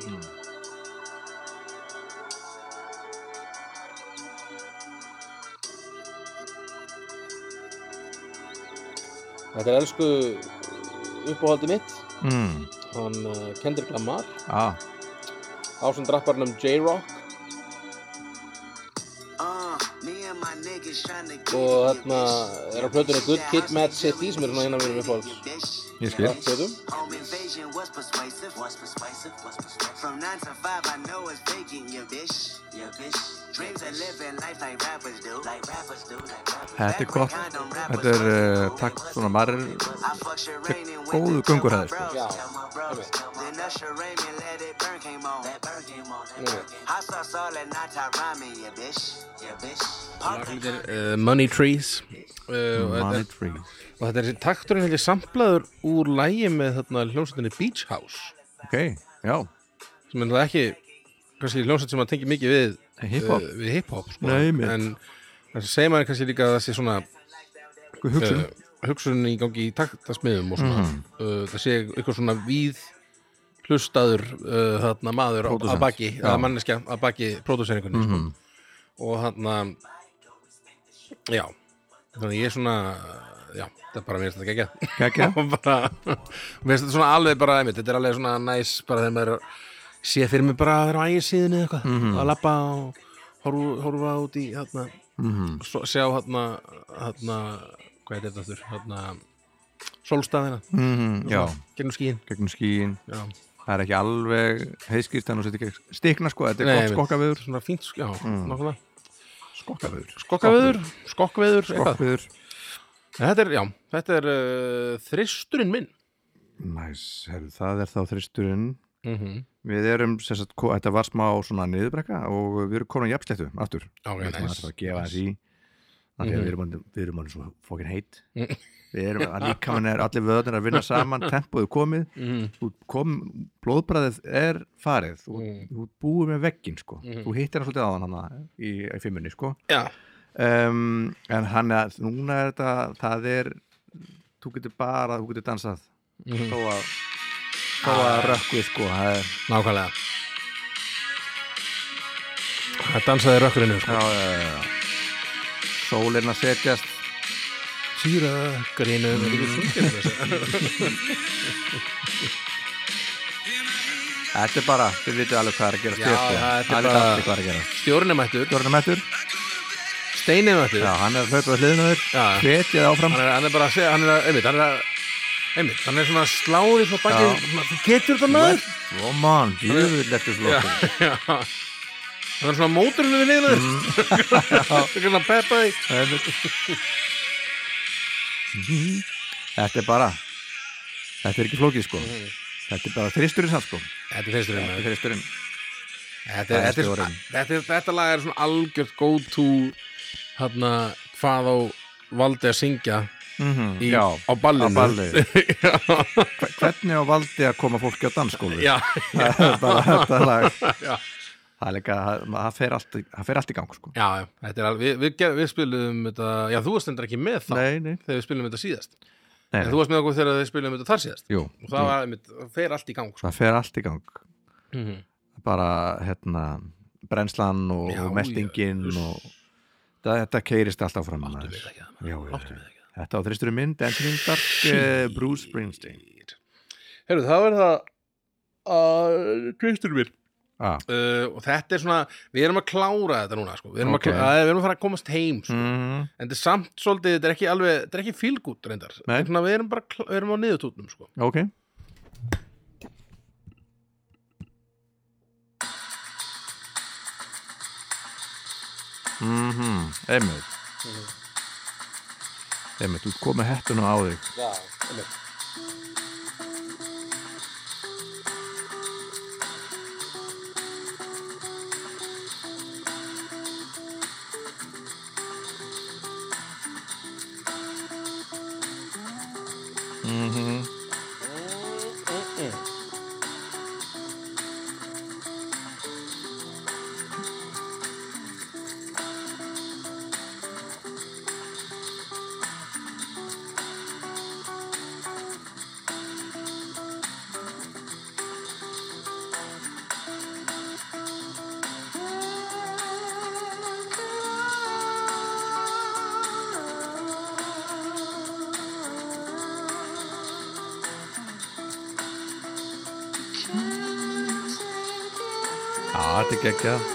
B: Þetta er elsku uppáhaldi mitt
A: mm.
B: hann uh, Kendrick Lamar
A: ah.
B: ásend rapparnum J-Rock
E: Og þarna er á plötunni Good Kid, Mad City sem er svona eina af mínum uppáhalds
A: Ég skil.
E: Plötum.
A: Þetta er gott Þetta er uh, takt svona marr góðu gönguræði sko.
E: Já,
B: Þetta er, uh, Money Trees uh, og þetta- og þetta er þessi takturinn hefði samplaður úr lægi með þarna hljómsveitinni Beach House
A: Ok, já,
B: sem er náttúrulega ekki kannski hljómsveit sem að tengi mikið við
A: Hip-hop.
B: uh, við hip-hop sko.
A: Nei, einmitt.
B: en það segir maður kannski líka að það sé svona
A: hvað hugsun Mhm.
B: uh, hugsun í gangi í taktasmiðum og svona uh, það sé eitthvað svona víð hlustaður uh, þarna maður á-
A: Pródúsent.
B: að baki,
A: Já. Mhm.
B: að manneskja að baki pródúseringunni sko. og þarna já, þannig ég er svona já, þetta er bara mér finnst þetta geggjað
A: Geggjað.
B: (laughs) Og bara, mér finnst þetta svona alveg bara einmitt, þetta er alveg svona næs bara þegar maður er að- sé fyrir mig bara að vera á ægisíðinni eða eitthvað
A: Mhm.
B: að lappa og horfa, horfa út í þarna svo, sjá hérna hérna, hvað er þetta þurr hérna, sólstæðina
A: mm, Já,
B: gegnum skíin
A: gegnum skíin
B: já.
A: Það er ekki alveg heiðskýrstan og setja ekki stikna sko, þetta er
B: Nei,
A: gott
B: einmitt.
A: skokkaveður Mm.
B: svona fínt, sk- já, nákvæmlega
A: Skokkaveður
B: skokkaveður, skokkveður, eitthvað
A: Skokkaveður
B: þetta er, já, þetta er uh, þristurinn minn
A: Næs, herru, það er þá þristurinn
B: mm -hmm.
A: Við erum, sem sagt, ko- þetta var smá svona niðurbrekka og við erum komin á jafnsléttu aftur
B: ok,
A: Við ætlum
B: næs.
A: alltaf að gefa þess í af því að við erum orðin- við erum alveg svo fókin heitt Við erum að líka er allir vöðnir að vinna saman, tempoðu komið þú kom, blóðbræðið er farið, þú, þú búið með veggin sko, þú hittir hann svolítið aðan hann í, í fimmunni sko
B: já,
A: um, en hann er, núna er þetta það er, þú getur bara þú getur dansað þó að þó að
B: Ah.
A: rökkvið sko það er,
B: nákvæmlega það dansaði rökkurinn sko.
A: já, já, já, já. sólinn að setjast
B: síra grínu mm.
A: Þetta er bara, þið vitið alveg hvað er að gera
B: Já, það er
A: Það er
B: bara-
A: alveg hvað er að gera
B: stjórnum mættur,
A: Stjórnum eftir,
B: steinum mættur
A: já, hann er að hlaupa við hliðinu á þér
B: Já.
A: Hvetið áfram
B: hann er, hann er bara að segja, hann er að, einmitt, hann er að einmitt, hann er svona sláði svona
A: Já.
B: bakið, svona, þú getur þetta maður
A: Come on, jöfull eftir slóttum
B: hann er svona móturinn við liðinu (laughs) mm. svona peppa því
A: Þetta er bara Þetta er ekki flókið sko
B: Mhm.
A: Þetta er bara þristurinn sann sko
B: þetta er fyrsturinn maður
A: Þristurinn
B: þetta, er-
A: Það er
B: þetta, er svona-
A: stjórinn.
B: þetta, er- þetta lag er svona algjört go to hann hvað á valdi að syngja í,
A: Já,
B: á ballinu
A: Mhm. á ballið.
B: já,
A: Hvernig á valdi að koma fólki á dansskólu?
B: (laughs) já,
A: (laughs) Það er bara þetta lag
B: (laughs) Já.
A: Það er líka, það- það fer allt í- það fer allt í gang sko
B: já, já, þetta er alveg við, við, ger- við spilum þetta, já þú varst endur ekki með þá
A: Nei, nei,
B: þegar við spilum þetta síðast
A: nei,
B: en þú varst með okkur þegar við spilum þetta þar síðast
A: Jú,
B: og það var, einmitt, það fer allt í gang sko.
A: það fer allt í gang
B: mm
A: bara hérna brennslan og,
B: Já,
A: og meltingin
B: já,
A: og það, þetta keirist alltaf fram
B: Láttu
A: maður.
B: mig þekkja það, hérna? maður.
A: Já, já,
B: Láttu
A: já.
B: mig þekkja
A: þetta á þristurinn minn Dancing in the Dark, eh, Bruce Springsteen
B: Herru, það var það að tvistur mér
A: ah.
B: uh, og þetta er svona, við erum að klára þetta núna sko. við, erum
A: Ok.
B: að, klára, að, við erum að fara að komast heim sko.
A: mm,
B: en þetta er samt svolítið, þetta er ekki alveg þetta er ekki fylgút reyndar
A: Nei.
B: Þetta er svona, við erum bara, klá- við erum á niðurtútnum sko.
A: ok mhm, mm einmitt einmitt, Mhm. þú komið hettuna á þig Já, þetta er geggjað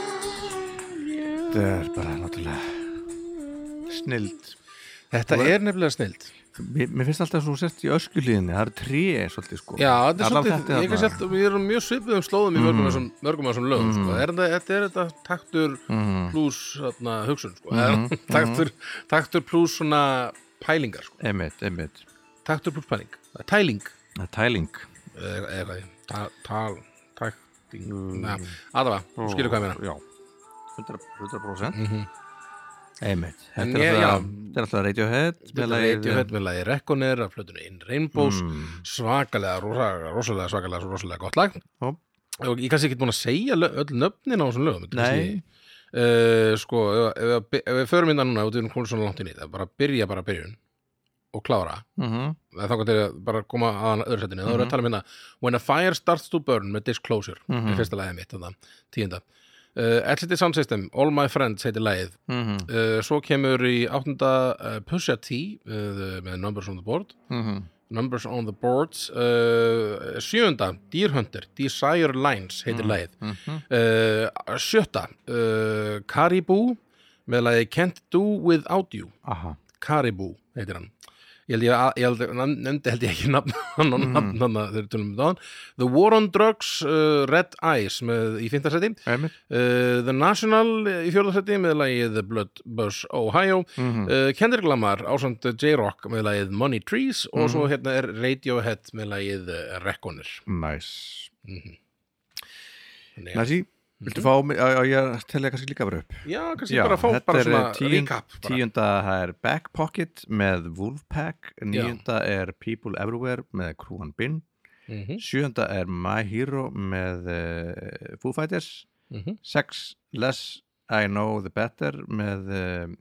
A: Þetta er bara náttúrulega snild
B: þetta er nefnilega snilt
A: Mér, mér finnst alltaf svo sett í öskulíðinni Það eru tré svolítið sko
B: já, þetta er
A: Allan
B: svolítið, ég kannski alltaf við erum mjög svipuðum slóðum í mörgum af þessum- mörgum af þessum lögum sko. er, þetta- þetta er þetta Mhm. hérna, taktur pluss þarna, hugsun sko. mm -hmm. taktur, taktur pluss svona pælingar sko.
A: Einmitt, einmitt
B: taktur pluss pæling, Það er tæling eh,
A: Það er Tæling
B: eða eða hvað, Ta- tal takting, mm. aðafa þú skilur hvað ég meina
A: Já 100%, 100%. Mhm. Einmitt
B: En
A: Þetta er
B: ég-
A: alltaf,
B: já.
A: þetta er alltaf Radiohead með
B: Þetta
A: lagið- eh, Mm.
B: reyti fett með lagi Reconair af flötunni In Rainbows svakalega, rosalega, rosalega, svakalega, rosalega gott lag
A: Ó.
B: og ég kannski ekki búin að segja lö- öll nöfnin á þessum lögum þetta er
A: Nei.
B: kannski- Eh, sko, ef, ef, ef, ef við förum innan núna og við erum komið svona langt inn í þetta, bara byrja bara byrjun og klára,
A: Mhm.
B: þá kannski að bara koma að öðru setinu, þá erum við að tala um hérna When a Fire Starts to Burn með Disclosure mm
A: Mhm.
B: er fyrsta lagið mitt, þannig tíunda uh, Exit Sound System, All My Friends heitir lagið
A: Mhm.
B: uh, svo kemur í áttunda uh, Pusha T uh, með Numbers on the Board
A: Mhm.
B: Numbers on the Boards uh, sjöunda, Deer Hunter Desire Lines heitir mm. lagið
A: Mhm.
B: uh, sjötta uh, Caribou með lagið Can't Do Without You
A: Aha
B: Caribou heitir hann ég held ég, að- ég held, hann nefndi held ég ekki nafn (laughs) hann og
A: Mhm.
B: nafn hann að þeir tölum um það The War on Drugs, uh, Red Eyes með, í fintarsæti
A: Einmitt
B: Uh, The National uh, í fjórðarsætti með lagið The Blood Bus Ohio
A: Mm. Mhm. Eh,
B: uh, Kendrick Lamar ásamt uh, J-Rock með lagið Money Trees og
A: Mm.
B: svo hérna er Radiohead með lagið uh, Reconer
A: Næs
B: Þannig að-
A: Næsi, viltu fá mig á, á, ég að telja Mhm. kannski líka bara upp
B: Já, kannski bara fá bara
A: er eh,
B: svona
A: tíun-
B: recap bara.
A: Tíunda það er Back Pocket með Wolfpack Níunda er People Everywhere með Krúan Bin
B: Mhm,
A: Sjöunda er My Hero með uh, Foo Fighters
B: mhm.
A: Sex Less I Know The Better með uh,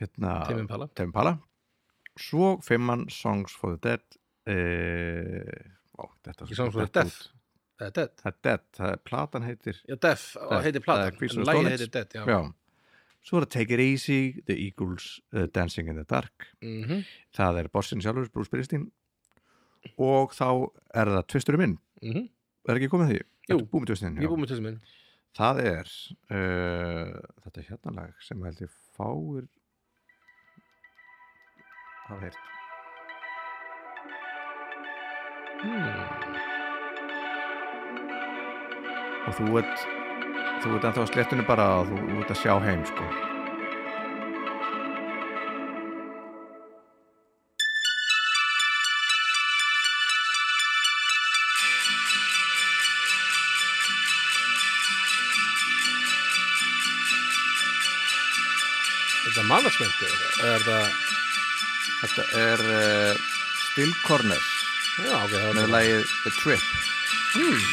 A: hérna
B: Tame Impala.
A: Tame Impala. Svo fimmann Songs for the Dead uh, ó, þetta
B: Ekki svona svona
A: þetta
B: Death
A: út.
B: Það er Death
A: Það er Dead, það er platan heitir
B: Já, Death,
A: Death,
B: og
A: það
B: heitir
A: er
B: platan
A: Queens
B: en
A: of the
B: lagið
A: Stone Age.
B: heitir Death, já
A: Já. Svo er það Take It Easy, The Eagles, uh, Dancing in the Dark.
B: Mhm,
A: Það er bossinn sjálfur, Bruce Springsteen. Og þá er það tvisturinn minn.
B: mhm.
A: Er ekki komið að því?
B: Jú.
A: Ertu búinn með tvisturinn,
B: Ég
A: já.
B: er búið með þessum minn
A: Það er uh, þetta hérna lag sem held ég fáir hafa heyrt. Hmm. Og þú ert þú ert ennþá á slettinu bara og þú ert að sjá heim, sko.
B: Þetta er management eða- eða er það
A: Þetta er uh, Still Corners
B: Já, ok, það er
A: með lagið The Trip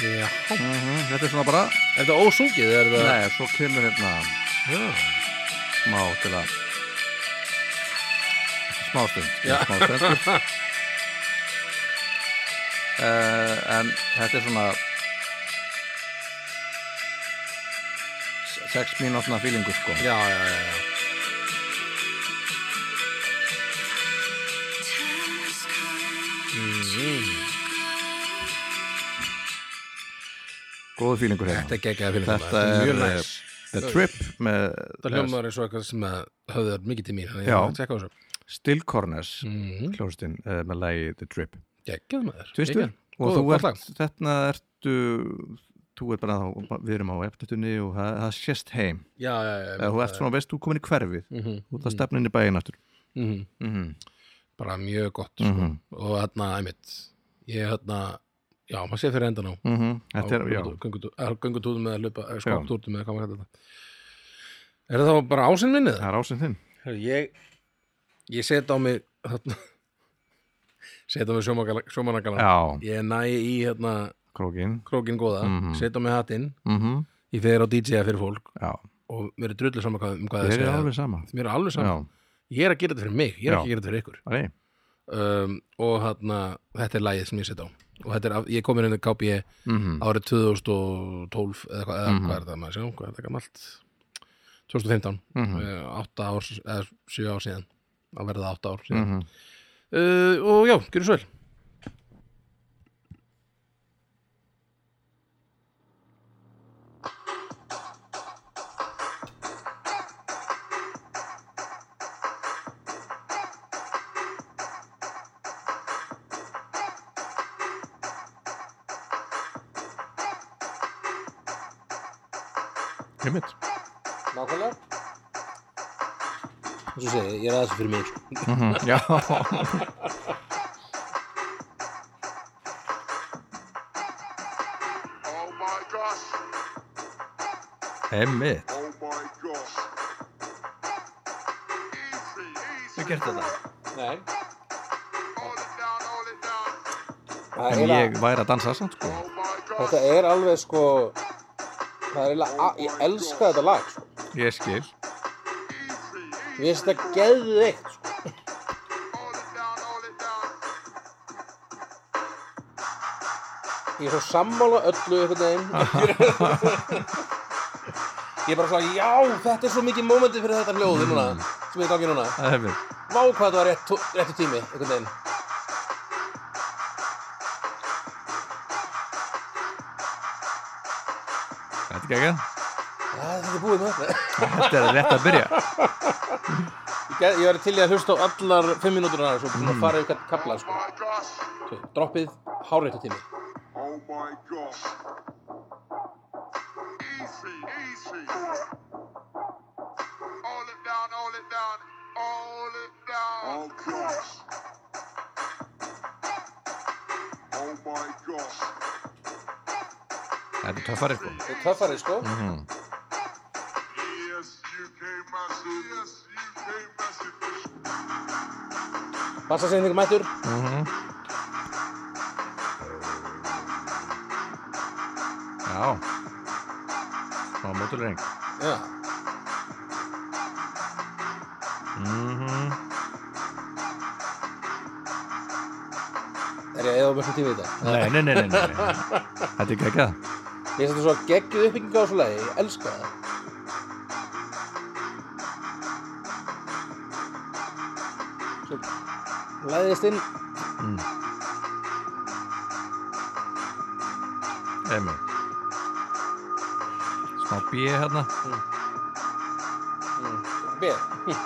B: Já,
A: Þetta er svona bara
B: er það ósungið eða er það
A: Nei, svo kemur hérna
B: Já.
A: smá til að smástund
B: Já.
A: smástund
B: (laughs)
A: uh, en þetta er svona s- sex mínútna fílingur sko
B: Já, já, já, já
A: góðu fílingur
B: Þetta
A: hérna
B: er geggjaða film
A: Þetta
B: maður.
A: er,
B: mjög
A: eh,
B: næs
A: The Trip með
B: Það hljómar eins og eitthvað sem að höfðu þar mikið til mín þannig
A: Já.
B: að tjekka á þessu
A: Still Corners mm.
B: Mhm.
A: klóstinn uh, með lagi The Trip
B: Geggjað maður
A: Tvistur
B: geggjað.
A: og
B: Góð-
A: þú
B: gott lag.
A: ert, þetta ertu þú ert bara, þá, við erum á eftirtunni og það, það sést heim
B: Já, já, já
A: eða þú ert svona, veist, þú er komin í hverfið mm -hmm. þú ert að stefna inn í bæinn aftur
B: Mhm.
A: mm -hmm.
B: Bara mjög gott sko.
A: Mhm.
B: Og þarna, einmitt Ég þarna Já, maður sé fyrir endan á
A: Mhm. þetta er, já,
B: Göngutúðum með að hlupa
A: Já.
B: Skoptúðum með að koma þetta Er það þá bara ásinn minni það?
A: það er ásinn þinn
B: Herru, Ég Ég set á mig þarna (laughs) Set á mig sjómanakana
A: já,
B: Ég næ í hérna
A: krókin
B: krókin góða
A: Mhm.
B: Set á mig hattinn
A: mm
B: Ég fer á DJ-a fyrir fólk
A: já,
B: og mér er drullu saman hvað, um hvað
A: þeir
B: það
A: eru
B: segja
A: alveg sama
B: mér er
A: já,
B: alveg saman, ég er að gera þetta fyrir mig ég er
A: Já.
B: ekki að gera þetta fyrir ykkur
A: Nei,
B: um, og þarna, þetta er lagið sem ég set á og þetta er, af- ég kom inn í KB
A: Mhm.
B: árið 2012 eða hvað, eða hvað er það maður sjá, hvað er það gammalt 2015 mm
A: Mhm.
B: 8 ár, eða 7 ár síðan að verða 8 ár síðan
A: Mhm.
B: uh, og já, gjörðu svo vel
A: Einmitt.
B: Nákvæmlega Svo segi ég, ég er aðeins fyrir mig sko.
A: Mhm. (laughs) Já.
G: Oh my gosh!
A: Einmitt.
G: Oh my gosh! Easy, easy.
A: gert þetta.
B: Nei,
G: Hold it down, hold it down.
A: En
B: það er
A: ég væri að dansa samt sko.
G: Oh my gosh!
B: þetta er alveg sko það er eiginlega, a- ég elska þetta lag sko.
A: Ég skil.
G: Easy, easy.
B: ég finnst þetta geðveikt sko.
G: Hold it down, hold it down.
B: ég er svo sammála öllu einhvern veginn (laughs) ég er bara svo já, þetta er svo mikið mómentið fyrir þetta hljóði núna, sem er í gangi núna
A: Einmitt.
B: vá hvað þetta var rétt, réttu tími einhvern veginn
A: Þetta er geggjað.
B: já, þetta er búið með þetta
A: (laughs) Þetta er rétt að byrja.
B: Ég, ég var til í að hlusta á allar fimm mínútur hana, svo mm. farið ykkert kapla, sko.
G: Oh my gosh!
B: Svo, Droppið, háréttu tími.
G: Oh my gosh! Easy, easy. Hold it down, hold it down. Hold it down. Oh gosh! Oh my gosh!
A: Þetta er töffari sko.
B: Þetta er töffari, sko.
G: Yes, you came massive. Yes, you came massive.
B: Passa sig einhver mættur.
A: Já. Smá mótulering.
B: Já. Er ég að eða mjög tími í þetta?
A: Nei, nei, nei, nei, nei. nei. Þetta er geggjað.
B: Ég finnst þetta svo geggjuð uppbygginga á svo lagi, ég elska það. Svo læðist inn,
A: Einmitt. Smá bíi hérna.
B: beð.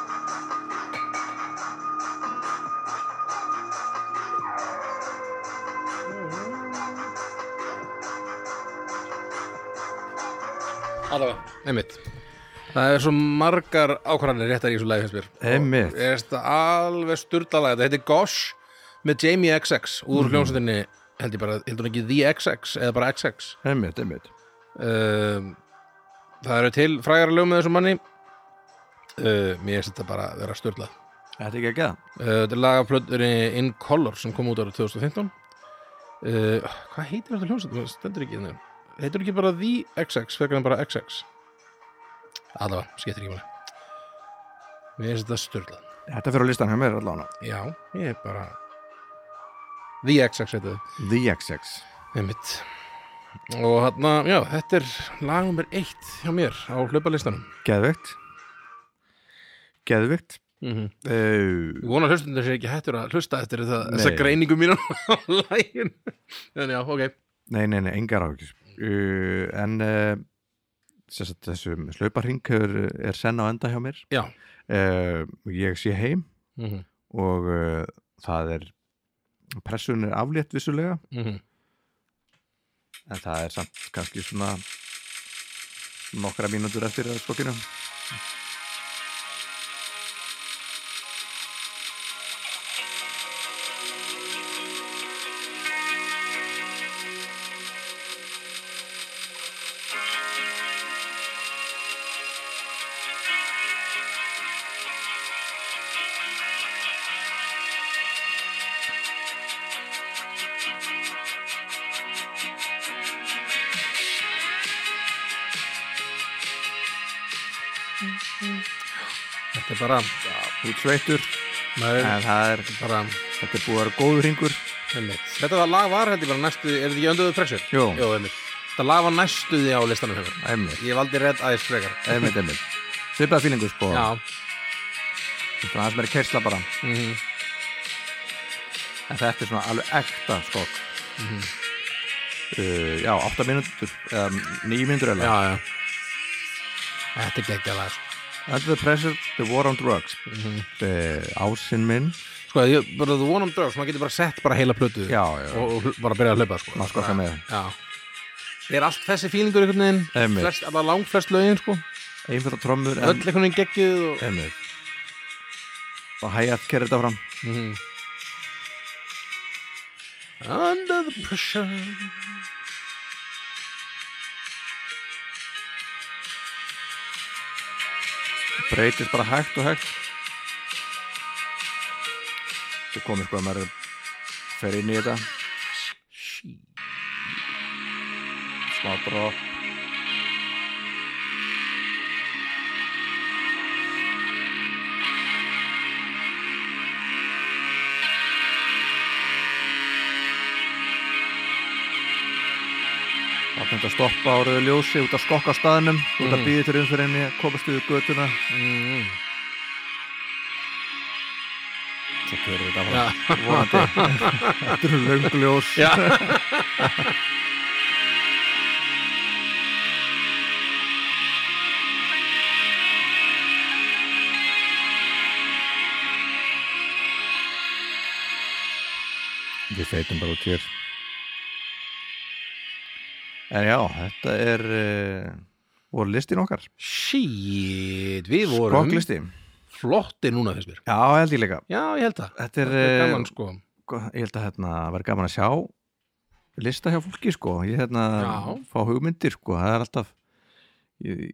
B: Allavega.
D: einmitt
B: Það er svo margar ákvarðanir réttar í þessu lagi finnst mér
A: Einmitt.
B: Er þetta alveg sturdalaga Þetta heitir Gosh með Jamie XX úr hljómsveitinni held ég bara, heldur hún ekki The XX eða bara XX
A: Einmitt, einmitt.
B: um, Það eru til frægar lög með þessum manni uh, Mér finnst þetta bara vera sturdlað uh,
A: Þetta er geggjað.
B: Þetta er lagaplötunni In Color sem kom út ára 2015 uh, Hvað heitir þetta hljómsveitinni? Stendur ekki þannig Heitir hún ekki bara The XX frekar en bara XX Allavega, skiptir ekki máli Mér finnst þetta sturdlað
A: Þetta fyrir á listan hjá mér allavega.
B: Já, ég er bara The XX heitið
A: The XX.
B: einmitt og hann að, já, þetta er lag nummer eitt hjá mér á hlaupalistanum
A: Geðvikt. Geðvikt.
B: mm -hmm.
A: Uh,
B: Ég vona að hlustundur sér ekki hættur að hlusta eftir það,
A: Nei.
B: þessa greiningu mínu (laughs) á lægin en já, ok
A: nei, nei, nei, engar áhugjur. Uh, en uh, sérst, þessum slauparhing er senn á enda hjá mér.
B: Já.
A: Uh, ég sé heim
B: mm -hmm.
A: og uh, það er pressun er aflétt vissulega
B: Mhm.
A: en það er samt kannski svona nokkra mínútur eftir að skokkinu
B: Þetta er bara,
A: út sveitur
B: maður er
A: en það er,
B: bara
A: þetta er búið að vera góður ringur
B: einmitt. Þetta lag var held ég bara næstuði, er þetta ekki önduðu pressur?
A: Jú.
B: Jú, einmitt. Þetta lag var næstuði á listanum hefur.
A: einmitt,
B: Ég valdi Red Eyes frekar.
A: einmitt, einmitt svipað fílingu sko
B: Já. mhm.
A: Þetta er aðeins meira kersla bara En þetta er svona alveg ekta skokk
B: Mhm.
A: uh, Já, 8 mínútur eða 9 mínútur
B: Já,
A: eða
B: já. Þetta er geggja lag. sko.
A: Under the pressure, the war on drugs mm
B: Mhm.
A: Ásinn minn
B: Sko, ég, bara þú vonum drög, maður getur bara sett bara heila plötu.
A: Já, já.
B: Og, og hl- bara byrja að hlaupa, sko.
A: Maður skokkar með.
B: Já. Það er allt þessi fílingur einhvern veginn.
A: Einmitt.
B: Flest, allar langt flest lögin, sko.
A: Einfjölda trommur
B: Öll einhvern veginn geggjuð og...
A: Einmitt Og hægjart kerði þetta fram
B: Under the pressure
A: Breytist bara hægt og hægt Svo komið sko að maður fer inn í þetta Smá drop Það er þetta að stoppa á rauðu ljósi út að skokka á staðnum, út að býða til umfyrinni, komast yfir götuna. Svo kverður þetta bara, vonandi. þetta eru löngljós. Já. Við feitum bara út hér. En já, þetta er, uh, voru listin okkar.
B: Shit, við
A: Sko,
B: vorum
A: Skokklisti.
B: flotti núna fyrst mér
A: Já, held ég líka.
B: Já, ég held það
A: Þetta er,
B: Þetta er
A: eh,
B: gaman sko
A: gott- ég held að hérna verði gaman að sjá lista hjá fólki sko ég hérna
B: Já.
A: fá hugmyndir sko það er alltaf ég,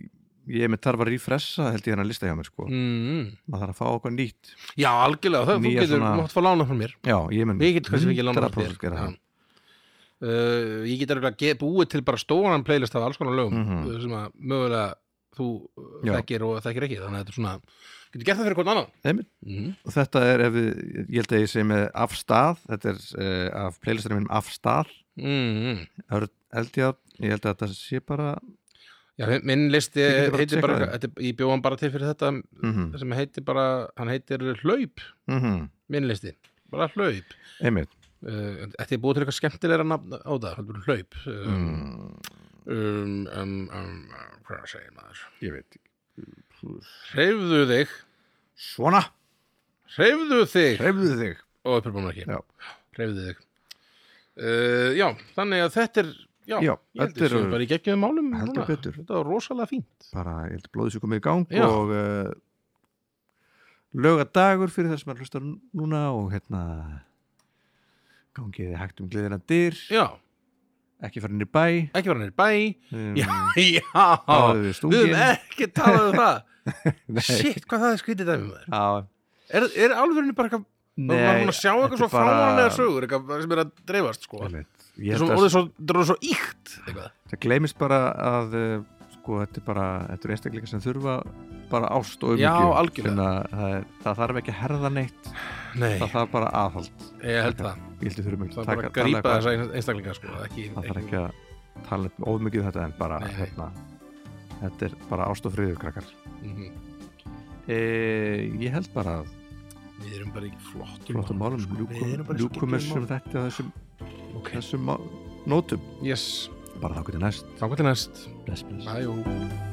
A: ég er með tarfa að refressa held ég hérna lista hjá mér sko
B: mm.
A: maður þarf að fá okkur nýtt
B: Já, algjörlega, það þú
A: Nýja
B: getur
A: svona-
B: mátt fá lána frá mér
A: já ég mun
B: Ég get kannski ekki lána frá
A: 100%
B: þér
A: gera
B: Já.
A: það
B: uh, Ég get að ge, búið til bara stóran playlist af alls konar lögum
A: Mhm.
B: uh, sem að mögulega þú uh,
A: Já.
B: þekkir og þekkir ekki þannig að þetta er svona Getur gert það fyrir hvern annan
A: Einmitt.
B: mm.
A: og þetta er ef við ég held að ég sé með af stað þetta er uh, af playlistanum mínum af stað
B: Mm.
A: Örn Eldjátt ég held að þetta sé bara
B: Já, minn listi
A: Ég getur bara
B: heitir bara,
A: checkað
B: bara þetta, ég bjóðan bara til fyrir þetta
A: mhm,
B: sem heitir bara, hann heitir Hlaup
A: mhm,
B: minn listi, bara Hlaup
A: einmitt
B: Uh, Þetta er búið til eitthvað skemmtilegra nafn á það, heldur en hlaup um,
A: mm,
B: um, um, um, Hvað segir maður?
A: ég veit ekki.
B: Hreyfðu þig,
A: svona
B: hreyfðu þig
A: hreyfðu þig
B: og uppurbúin ekki,
A: Já.
B: hreyfðu þig uh, Já, þannig að þetta er Já,
A: Já,
B: ég held
A: þetta
B: þessu
A: eru-
B: bara í geggjum málum
A: Heldur
B: núna.
A: betur.
B: Þetta var rosalega fínt
A: bara, ég held að blóðið sér komið í gang
B: Já.
A: og uh, lögadagur fyrir það sem er hlustar núna og hérna gangiði hægt um gleðina dyr
B: Já,
A: ekki farin í bæ
B: ekki var hann er bæ
A: um,
B: Já, (laughs) já,
A: Náðu við
B: við
A: stungin.
B: höfum ekki talað
A: (laughs)
B: um það Shit, hvað það er skrítið dæmi maður
A: á,
B: Er, er alvörinu bara eitthvað Nei, var hún að sjá eitthvað svo fáanlega sögur eitthvað sem er að dreifast sko
A: einmitt,
B: Það
A: ég
B: er
A: held
B: svona
A: að
B: orðið svo, það er orðið svo íkt eitthvað.
A: það gleymist bara að uh, sko, þetta er bara, þetta eru einstaklingar sem þurfa bara ást og
B: Já,
A: umhyggju.
B: algjörlega.
A: Þannig að það, er- það þarf ekki að herða neitt
B: Nei,
A: það þarf bara aðhald
B: ég held það.
A: ég held að þurfum ekki
B: Það
A: að
B: er
A: taka-
B: bara að
A: tala
B: grípa
A: eitthvað-
B: þessa einstaklinga sko. Ekki,
A: það þarf ekki að tala ómikið um þetta en bara
B: Nei, nei.
A: hérna þetta er bara ást og friður krakkar
B: Mhm.
A: e, ég held bara að
B: Við erum bara ekki flottum sko.
A: flottum málum
B: Við erum
A: ljúkum,
B: bara
A: ljúkum
B: skemmtilegum
A: þessum þetta þessum,
B: Ok.
A: þessum má- nótum
B: Yes,
A: bara þá getur næst
B: þá gott til næst.
A: bless, bless.
B: Bæjó.